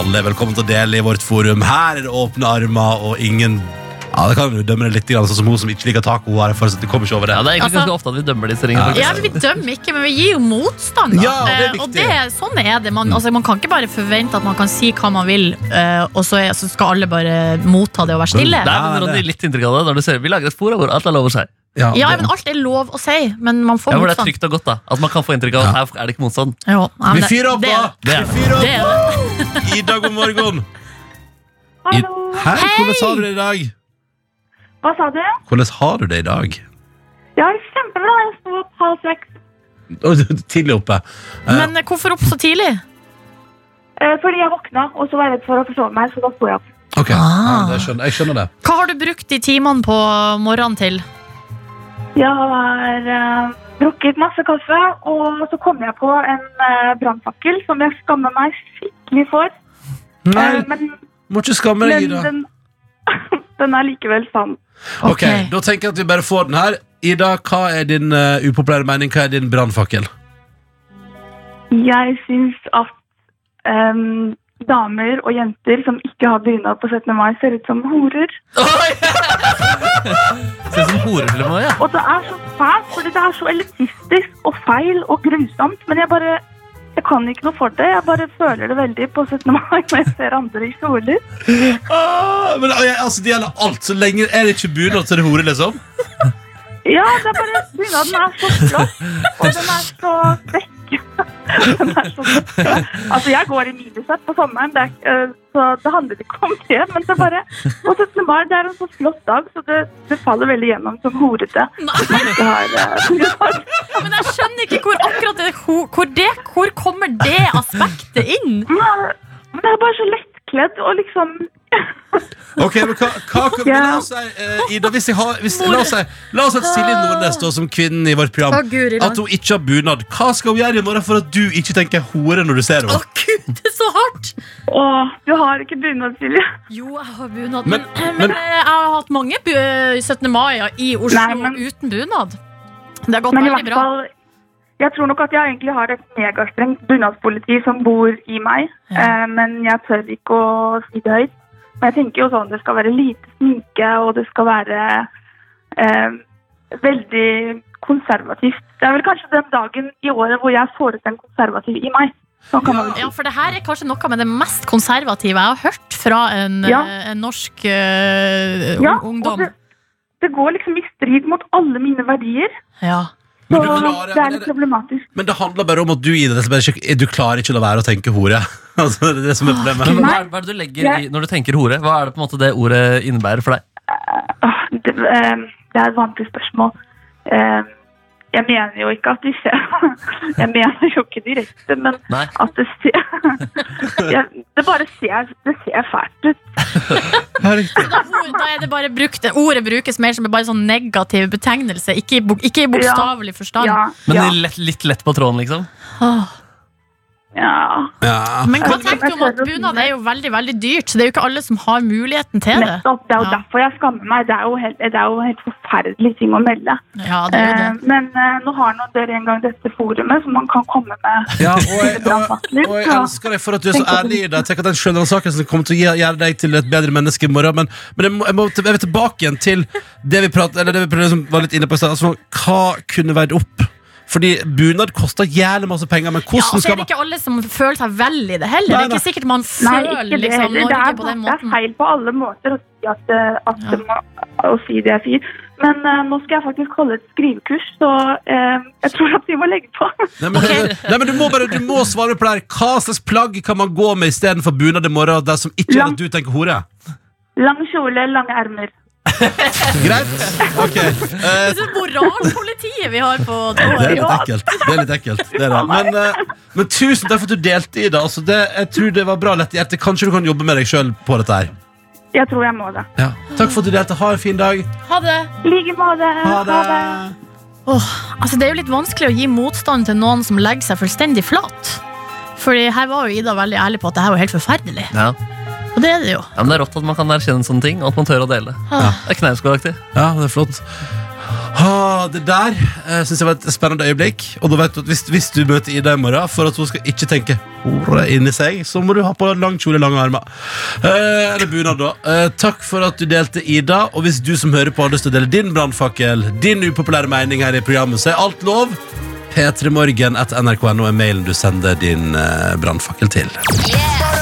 B: Alle er velkommen til å dele i vårt forum. Her er det åpne armer og ingen Ja, det kan du dømme det litt, grann, sånn som hun som ikke liker taco. Har jeg fortsatt- det kommer ikke over det.
C: Ja, det er egentlig
E: Altså-
C: ganske ofte at vi dømmer disse ringene.
E: Ja, men Vi dømmer ikke, men vi gir jo motstand. da.
C: Ja, det er
E: Eh,
C: viktig.
E: og det, er- sånn er det. Man, altså, man kan ikke bare forvente at man kan si hva man vil, eh, og så, er, så skal alle bare motta det og være stille.
C: Der vinner Ronny litt inntrykk av det. Når du ser, vi lager et fora hvor alt er lov å si.
E: Ja, men alt er lov å si, men man får
C: Ja, hvor det er
E: motstand.
C: trygt og godt, da. At man kan få inntrykk av at her er det ikke motstand.
E: Jo, ja, men det- det er det.
C: Det er det.
E: Det er det.
B: Ida, god morgen. I- Hei, hvordan har du det i dag?
F: Hva sa du?
B: Hvordan har du det i dag?
F: Ja, kjempebra. Jeg sto opp halv seks
B: Å, du er Tidlig oppe. Eh,
E: Men eh, hvorfor opp så tidlig?
F: eh, fordi jeg våkna, og så var jeg redd for å forsove meg, så da sto jeg opp.
B: ok, ja, det skjønner, jeg skjønner det.
E: Hva har du brukt de timene på morgenen til?
F: Jeg har eh, drukket masse kaffe, og så kom jeg på en eh, brannfakkel som jeg skammer meg skikkelig for.
B: Nei,
F: Eh, men
B: må ikke skamme deg,
F: men
B: Ida.
F: den, den er likevel sann.
B: Ok, Da tenker jeg at vi bare får den her. Ida, hva er din eh, upopulære mening? Hva er din brannfakkel?
F: Jeg syns at em, damer og jenter som ikke har bunad på 17. mai, ser ut som horer.
C: Ser ut som horefilmer, ja.
F: Og det er så fælt, fordi det er så elitistisk og feil og grusomt. Men jeg bare
H: Jeg kan ikke noe for det. Jeg bare føler det veldig på 17. mai når jeg ser andre i kjoler.
B: Ah, men jeg, altså, Det gjelder alt. Så lenge er det ikke bunad, så er det hore, liksom.
H: Ja, det er bare bunaden er så flott, og den er så vekk. Den er så flott. Altså, jeg går i minisett på sommeren, det er, ikke- øh, så det handler ikke om det. Men det er bare på 17. mai det er en så flott dag, så det, det faller veldig gjennom som horete. Hvis man ikke har, øh,
E: Men jeg skjønner ikke hvor akkurat det, hvor, hvor det Hvor kommer det aspektet inn?
H: Men jeg er bare så lettkledd og liksom
B: Ok, men hva, hva kan vi la oss si, eh, Ida, hvis jeg har hvis, la, oss si, la oss si at Silje Nordnes står som kvinnen i vårt program.
E: Å, Guri land.
B: At hun ikke har bunad. Hva skal hun gjøre i morgen for at du ikke tenker hore når du ser henne?
E: Det er så hardt!
H: Åh, du har ikke bunad, Silje.
E: Jo, jeg har bunad,
B: Men-
E: men, men,
B: men-
E: eh, jeg har hatt mange bu 17. mai-er i Oslo uten bunad. Det har gått
H: Men i
E: veldig
H: hvert
E: bra.
H: fall, jeg tror nok at jeg egentlig har et megastrengt bunadspoliti som bor i meg. Eh, men jeg tør ikke å si det høyt. Men jeg tenker jo sånn, det skal være lite sminke, og det skal være eh, veldig konservativt. Det er vel kanskje den dagen i året hvor jeg får ut den konservative i meg. Sånn kan man vel si.
E: Ja, for det her er kanskje noe med det mest konservative jeg har hørt fra en,
H: Ja.
E: eh, en norsk eh,
H: Ja,
E: ung- ungdom.
H: og det- Det går liksom i strid mot alle mine verdier.
E: Ja.
H: Så
B: Men du klarer-
H: det er litt problematisk.
B: Men det handler bare om at du Ida, det er bare ikke, du klarer ikke å la være å tenke hore. Altså, det er det som er
C: Men
B: problemet.
C: hva er, hva er det du legger i når du tenker hore? Hva er det på en måte det ordet innebærer for deg?
H: det, eh, det er et vanskelig spørsmål. Eh, Jeg mener jo ikke at de ser Jeg mener jo ikke direkte, men
C: Nei.
H: at det ser Jeg- Det bare ser, det ser fælt ut.
E: Så Da, da er det bare brukt, ordet brukes mer som en bare sånn negativ betegnelse, ikke i, bo- ikke i bokstavelig forstand.
C: Men lett, litt lett på tråden, liksom?
E: Åh.
H: Ja.
B: Ah.
E: Men hva tenker du om at bunad er jo veldig veldig dyrt, så det er jo ikke alle som har muligheten til det.
H: Nettopp. Det er jo derfor jeg skammer meg. Det er jo helt, det er jo helt forferdelig ting å melde.
E: Ja, det er jo det.
H: Eh, Men eh, nå har nå dere en gang dette forumet, så man kan komme med
B: Ja, og jeg, og,
H: litt.
B: og jeg
H: ja.
B: elsker deg for at du er så ærlig i det. Tenk at den skjønnransakelsen kommer til å gjøre- gjøre deg til et bedre menneske i morgen. Men, men jeg, må, jeg, må, til- jeg vil tilbake igjen til det vi prat, eller det vi prøvde, som var litt inne på i sted. Altså, hva kunne vært opp? Fordi bunad koster jævlig masse penger, men
E: Ja, altså,
B: hvordan
E: så er
B: skal
E: det
B: man
E: ikke alle som føler seg vel i det heller.
B: Nei,
E: Det er ikke
B: nei.
E: sikkert man
H: Nei,
E: føler
H: ikke det
E: liksom,
H: heller. Det
E: Norge
H: er,
E: på den
H: det er
E: måten.
H: feil på alle måter å si, at, eh, at det må, å si det jeg sier. Men eh, nå skal jeg faktisk holde et skrivekurs, så eh, jeg tror at vi må legge på.
B: Nei, men, nei, men du, må bare, du må svare på det her. Hva slags plagg kan man gå med istedenfor bunad i morgen? Der som ikke gjør at du tenker hore?
H: Lang kjole, lange ermer.
B: Greit? Ok. Eh,
E: Det er moralpolitiet vi har på
B: Det er litt ekkelt. Det er litt ekkelt. Det er det. Men, eh, men tusen takk for at du delte, Ida. Altså, det, jeg tror det var bra lett hjerte. Kanskje du kan jobbe med deg sjøl på dette her.
H: Jeg tror jeg må det.
B: Takk for at du delte. Ha en fin dag.
E: Ha det.
H: I like måte.
B: Ha det.
E: Åh, altså det er jo litt vanskelig å gi motstand til noen som legger seg fullstendig flat. Fordi her var jo Ida veldig ærlig på at det her var helt forferdelig.
C: Ja.
E: Og det er det jo.
C: ja, men Det er rått at man kan erkjenne sånne ting, og at man tør å dele.
E: Ah.
C: Det er Knausgårdaktig.
B: Ja, det er flott. Ah, det der uh, syns jeg var et spennende øyeblikk. Og da vet du at hvis, hvis du møter Ida i morgen for at hun skal ikke tenke hore inni seg, så må du ha på deg lang kjole, lange armer. Eh, eller bunad, da. Eh, takk for at du delte, Ida. Og hvis du som hører på har lyst til å dele din brannfakkel, din upopulære mening her i programmet, så er alt lov. P3morgen etter nrk.no er mailen du sender din uh, eh, brannfakkel til.
K: Yeah.